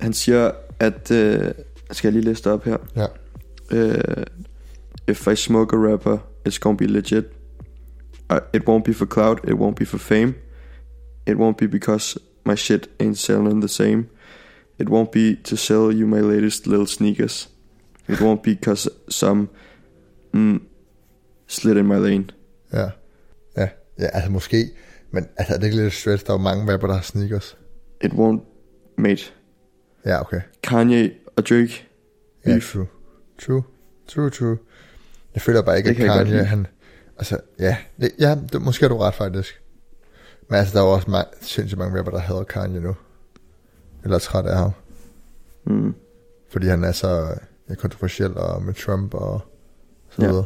A: han siger, at... Øh, skal jeg lige læse det op her?
B: Ja.
A: Uh, if I smoke a rapper, it's gonna be legit. Uh, it won't be for clout, it won't be for fame. It won't be because my shit ain't selling the same. It won't be to sell you my latest little sneakers. It won't be because some mm, slid in my lane.
B: Ja. Ja, ja altså måske. Men altså, er det ikke lidt stress? Der er jo mange rapper, der har sneakers.
A: It won't, mate.
B: Ja, okay.
A: Kanye og Drake,
B: Ja,
A: Beef.
B: true. True. True, true. Jeg føler bare ikke,
A: Det
B: at
A: kan jeg godt
B: Kanye,
A: lide.
B: han... Altså, ja. Det, ja, det, måske er du ret, faktisk. Men altså, der er jo også mange, sindssygt mange rapper, der hader Kanye nu. Eller er træt af ham.
A: mm,
B: Fordi han er så ja, kontroversiel og med Trump og så
A: Ja.
B: videre.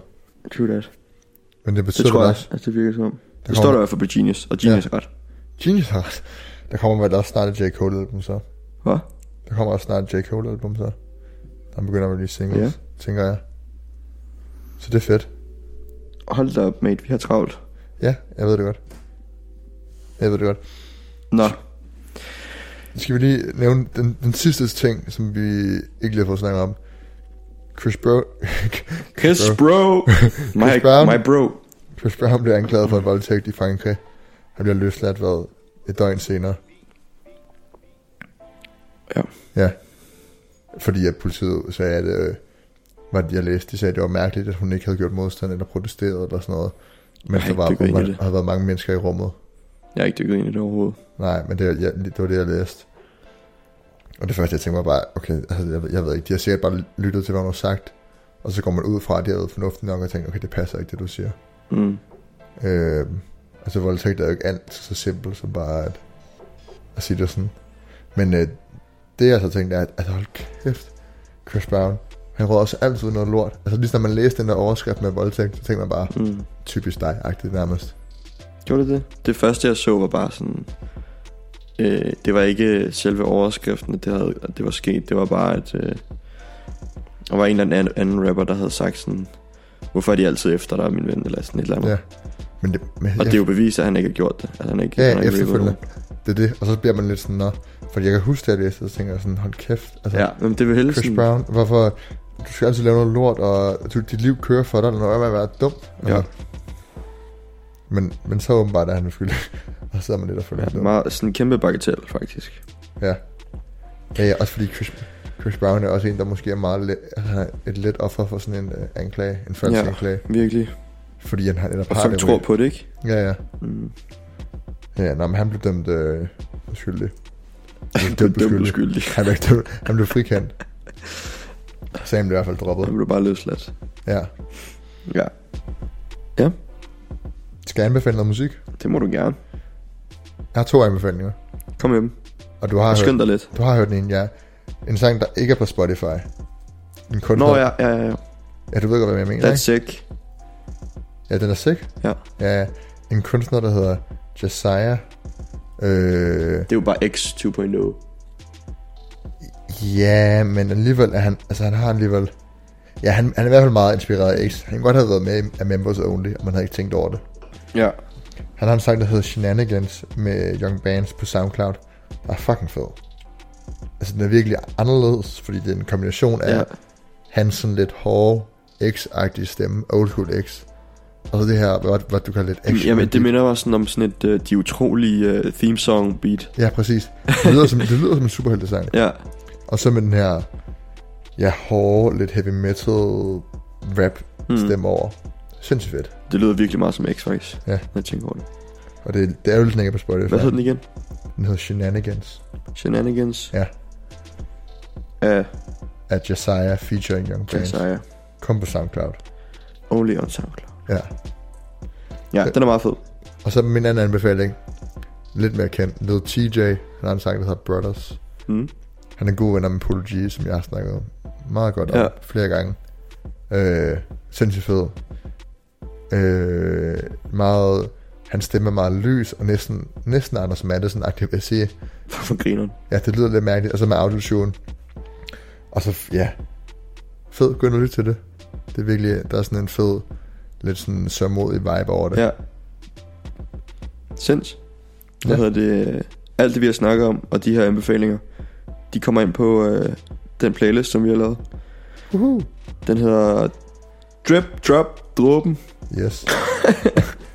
A: true that.
B: Men det
A: Det
B: betyder
A: tror
B: vel
A: jeg,
B: også...
A: at det virker som om.
B: Der
A: Det står der i
B: kommer,
A: hvert fald på Genius, og Genius er ret.
B: Genius har ret. Der kommer vel også snart et J. Cole-album, så.
A: Hvad?
B: Der kommer også snart et J. Cole-album, så. Der begynder vel lige singles, ja. tænker jeg. Så det er fedt.
A: Hold da op, mate, vi har travlt.
B: Ja, jeg ved det godt. Jeg ved det godt.
A: Nå,
B: Skal vi lige nævne den, den sidste ting, som vi ikke lige har fået snakket om. Chris, Bro
A: Chris
B: Bro.
A: bro, my,
B: Brown.
A: my bro.
B: Chris Brown blev anklaget for en voldtægt i Frankrig. Han bliver løsladt hvad, et døgn senere.
A: Ja.
B: Ja. Fordi at politiet sagde, at øh, var det, jeg læste, de sagde, at det var mærkeligt, at hun ikke havde gjort modstand eller protesteret eller sådan noget. Men
A: Ej,
B: der var,
A: det går ind i
B: der
A: det.
B: havde været mange mennesker i rummet.
A: Jeg er ikke dykket ind i det overhovedet.
B: Nej, men det, var- jeg, det var det, jeg læste. Og det første, jeg tænkte mig bare, okay, altså, jeg, ved- jeg ved ikke, de har sikkert bare lyttet til, hvad hun har sagt, og så går man ud fra, at de har været fornuftige nok, og tænker, okay, det passer ikke, det du siger.
A: Mm.
B: Øh, altså, voldtægt er jo ikke alt så simpelt, som bare at, at sige det sådan. Men øh, det, jeg så tænkte, er, at altså, hold kæft, Chris Brown, han råder også altid noget lort. Altså, lige når man læste den der overskrift med voldtægt, så tænkte man bare,
A: Mm.
B: typisk dig-agtigt nærmest.
A: Gjorde det det? Det første, jeg så, var bare sådan... Øh, det var ikke selve overskriften, at det, havde, at det var sket. Det var bare, at... Øh, der var en eller anden, anden rapper, der havde sagt sådan... Hvorfor er de altid efter dig, min ven? Eller sådan et eller andet.
B: Ja.
A: Ja.
B: Men det, men
A: Og det er jo bevis, at han ikke har gjort det. At han ikke,
B: Ja,
A: han har ikke rapet
B: efterfølgende.
A: nogen.
B: Det Det er det. Og så bliver man lidt sådan, nå. Fordi jeg kan huske, da jeg læste, det, så tænker jeg sådan, hold kæft. Altså,
A: Ja, men det vil helst
B: Chris
A: sådan-
B: Brown, hvorfor... Du skal altid lave noget lort, og du, dit liv kører for dig, når man er dum.
A: Ja.
B: Altså, Men, men så åbenbart er han skyldig. og så er man lidt og føler sig
A: Ja,
B: dum.
A: meget, sådan en kæmpe bagateller, faktisk.
B: Ja. ja. Ja, også fordi Chris, Chris Brown er også en, der måske er meget let, altså, han er et let offer for sådan en uh, anklage, en falsk
A: Ja.
B: ja. anklage,
A: Virkelig.
B: fordi han har netop
A: Og
B: har
A: folk
B: det
A: tror
B: med-
A: på det, ikke?
B: Ja, ja.
A: Mm.
B: ja nå, men han blev dømt øh, skyldig. Han
A: Det er dømt uskyldig.
B: Han blev, ikke dømt, han blev frikendt. Sagen blev i hvert fald droppet.
A: Han blev bare løsladt.
B: Ja.
A: Ja,
B: Skal jeg anbefale noget musik?
A: det må du gerne.
B: Jeg har to anbefalinger.
A: Kom hjem.
B: Og du har,
A: Og
B: hørt,
A: skynd dig lidt.
B: du har hørt den ene, ja. En sang, der ikke er på Spotify. En kunstner.
A: Nå, ja, ja, ja, ja.
B: ja, du ved godt, hvad jeg mener,
A: That's sick.
B: Ja, den er sick.
A: Ja.
B: ja en kunstner, der hedder Josiah. Øh,
A: Det er jo bare X oh. 2.0.
B: ja, men alligevel er han... Altså, han har alligevel... Ja, han, han er i hvert fald meget inspireret af X. Han kunne godt have været med i- af Members Only, og man havde ikke tænkt over det.
A: Ja.
B: Han har en sang, der hedder Shenanigans med Young Bands på Soundcloud. Der er fucking fed. Altså, den er virkelig anderledes, fordi det er en kombination af
A: Ja.
B: ja. hans sådan lidt hårde, X-agtige stemme, old school X. Og så det her, hvad, hvad du kalder lidt action.
A: Jamen, det minder mig sådan om sådan et, øh, de utrolige øh, theme song beat.
B: Ja, præcis. Det lyder som, det lyder som en superheltesang.
A: Ja,
B: Og så med den her, ja, hårde, lidt heavy metal rap
A: Hmm.
B: stemme over. Sindssygt fedt.
A: det lyder virkelig meget som X, faktisk.
B: Ja.
A: Når jeg tænker over det.
B: Og det, det er jo lidt den ikke er på Spotify.
A: Hvad hed den igen?
B: Den hedder Shenanigans
A: Shenanigans?
B: Ja.
A: Af
B: af Josiah featuring Young Bands.
A: Josiah.
B: Kom på Soundcloud.
A: Only on SoundCloud.
B: Ja.
A: Ja,
B: Ja.
A: den er meget fed.
B: Og så min anden anbefaling. Lidt mere kendt. Lil TJ. Han har en sang, der hedder Brothers.
A: Mm.
B: Han er en god venner med Polo G, som jeg har snakket meget godt om
A: Ja.
B: ja. flere gange. Øh, sindssygt fed. Øh, meget, hans stemme er meget lys, og næsten, næsten Anders Maddelsen-agtig, vil jeg sige.
A: Hvorfor griner den?
B: Ja, det lyder lidt mærkeligt, og så med autotune. Og så, ja, fed, gå ind og lyt til det. Det er virkelig, der er sådan en fed, lidt sådan sørmodig vibe over det.
A: Ja. Sinds. Hvad
B: Ja.
A: hedder det? Alt det, vi har snakket om, og de her anbefalinger, de kommer ind på øh, den playlist, som vi har lavet.
B: Uhu.
A: Den hedder Drip, Drop, Dråben.
B: Yes.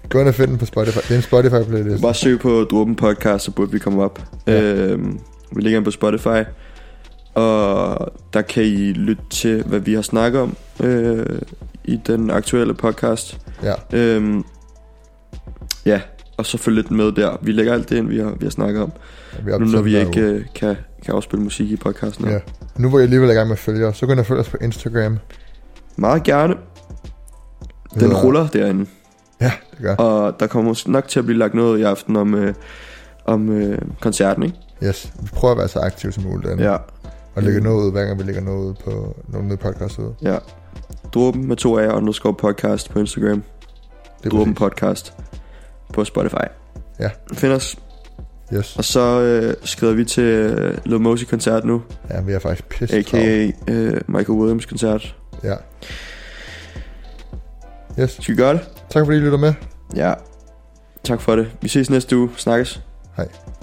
B: Gå ind og find den på Spotify. Det er en Spotify playlist.
A: Bare søg på Dråben Podcast, så burde vi komme op.
B: Ja.
A: Øhm, vi ligger inde på Spotify. Og der kan I lytte til, hvad vi har snakket om øh, i den aktuelle podcast.
B: Ja,
A: Øhm, ja, og så følg lidt med der. Vi lægger alt det ind, vi har, vi har snakket om.
B: vi
A: Nu når
B: optager
A: vi
B: den
A: ikke
B: derude.
A: øh, kan, kan afspille musik i podcasten. Ja.
B: Ja. Nu hvor jeg alligevel er i gang med at følge os, så gå ind og følg os på Instagram.
A: Meget gerne. Den
B: Det hedder-
A: ruller derinde.
B: Ja, det gør.
A: Og der kommer måske nok til at blive lagt noget i aften om, øh, om øh, koncerten, ikke?
B: Yes, vi prøver at være så aktive som muligt derinde.
A: Ja.
B: Og lægge noget ud, hver gang vi lægger noget ud på nogle nye podcasts ud.
A: ja. Dråben med to af jer, underscore podcast på Instagram.
B: Det er
A: Dråben
B: præcis.
A: podcast på Spotify.
B: Ja.
A: Find os.
B: Yes.
A: Og så øh, skrider vi til øh, Lil Mosey koncert nu.
B: Ja, vi er faktisk pisse travlt.
A: A.k.a. Øh, Michael Williams koncert.
B: Ja. Yes,
A: Skal vi gøre det?
B: tak fordi I lytter med.
A: Ja. Tak for det. Vi ses næste uge. Snakkes.
B: Hej.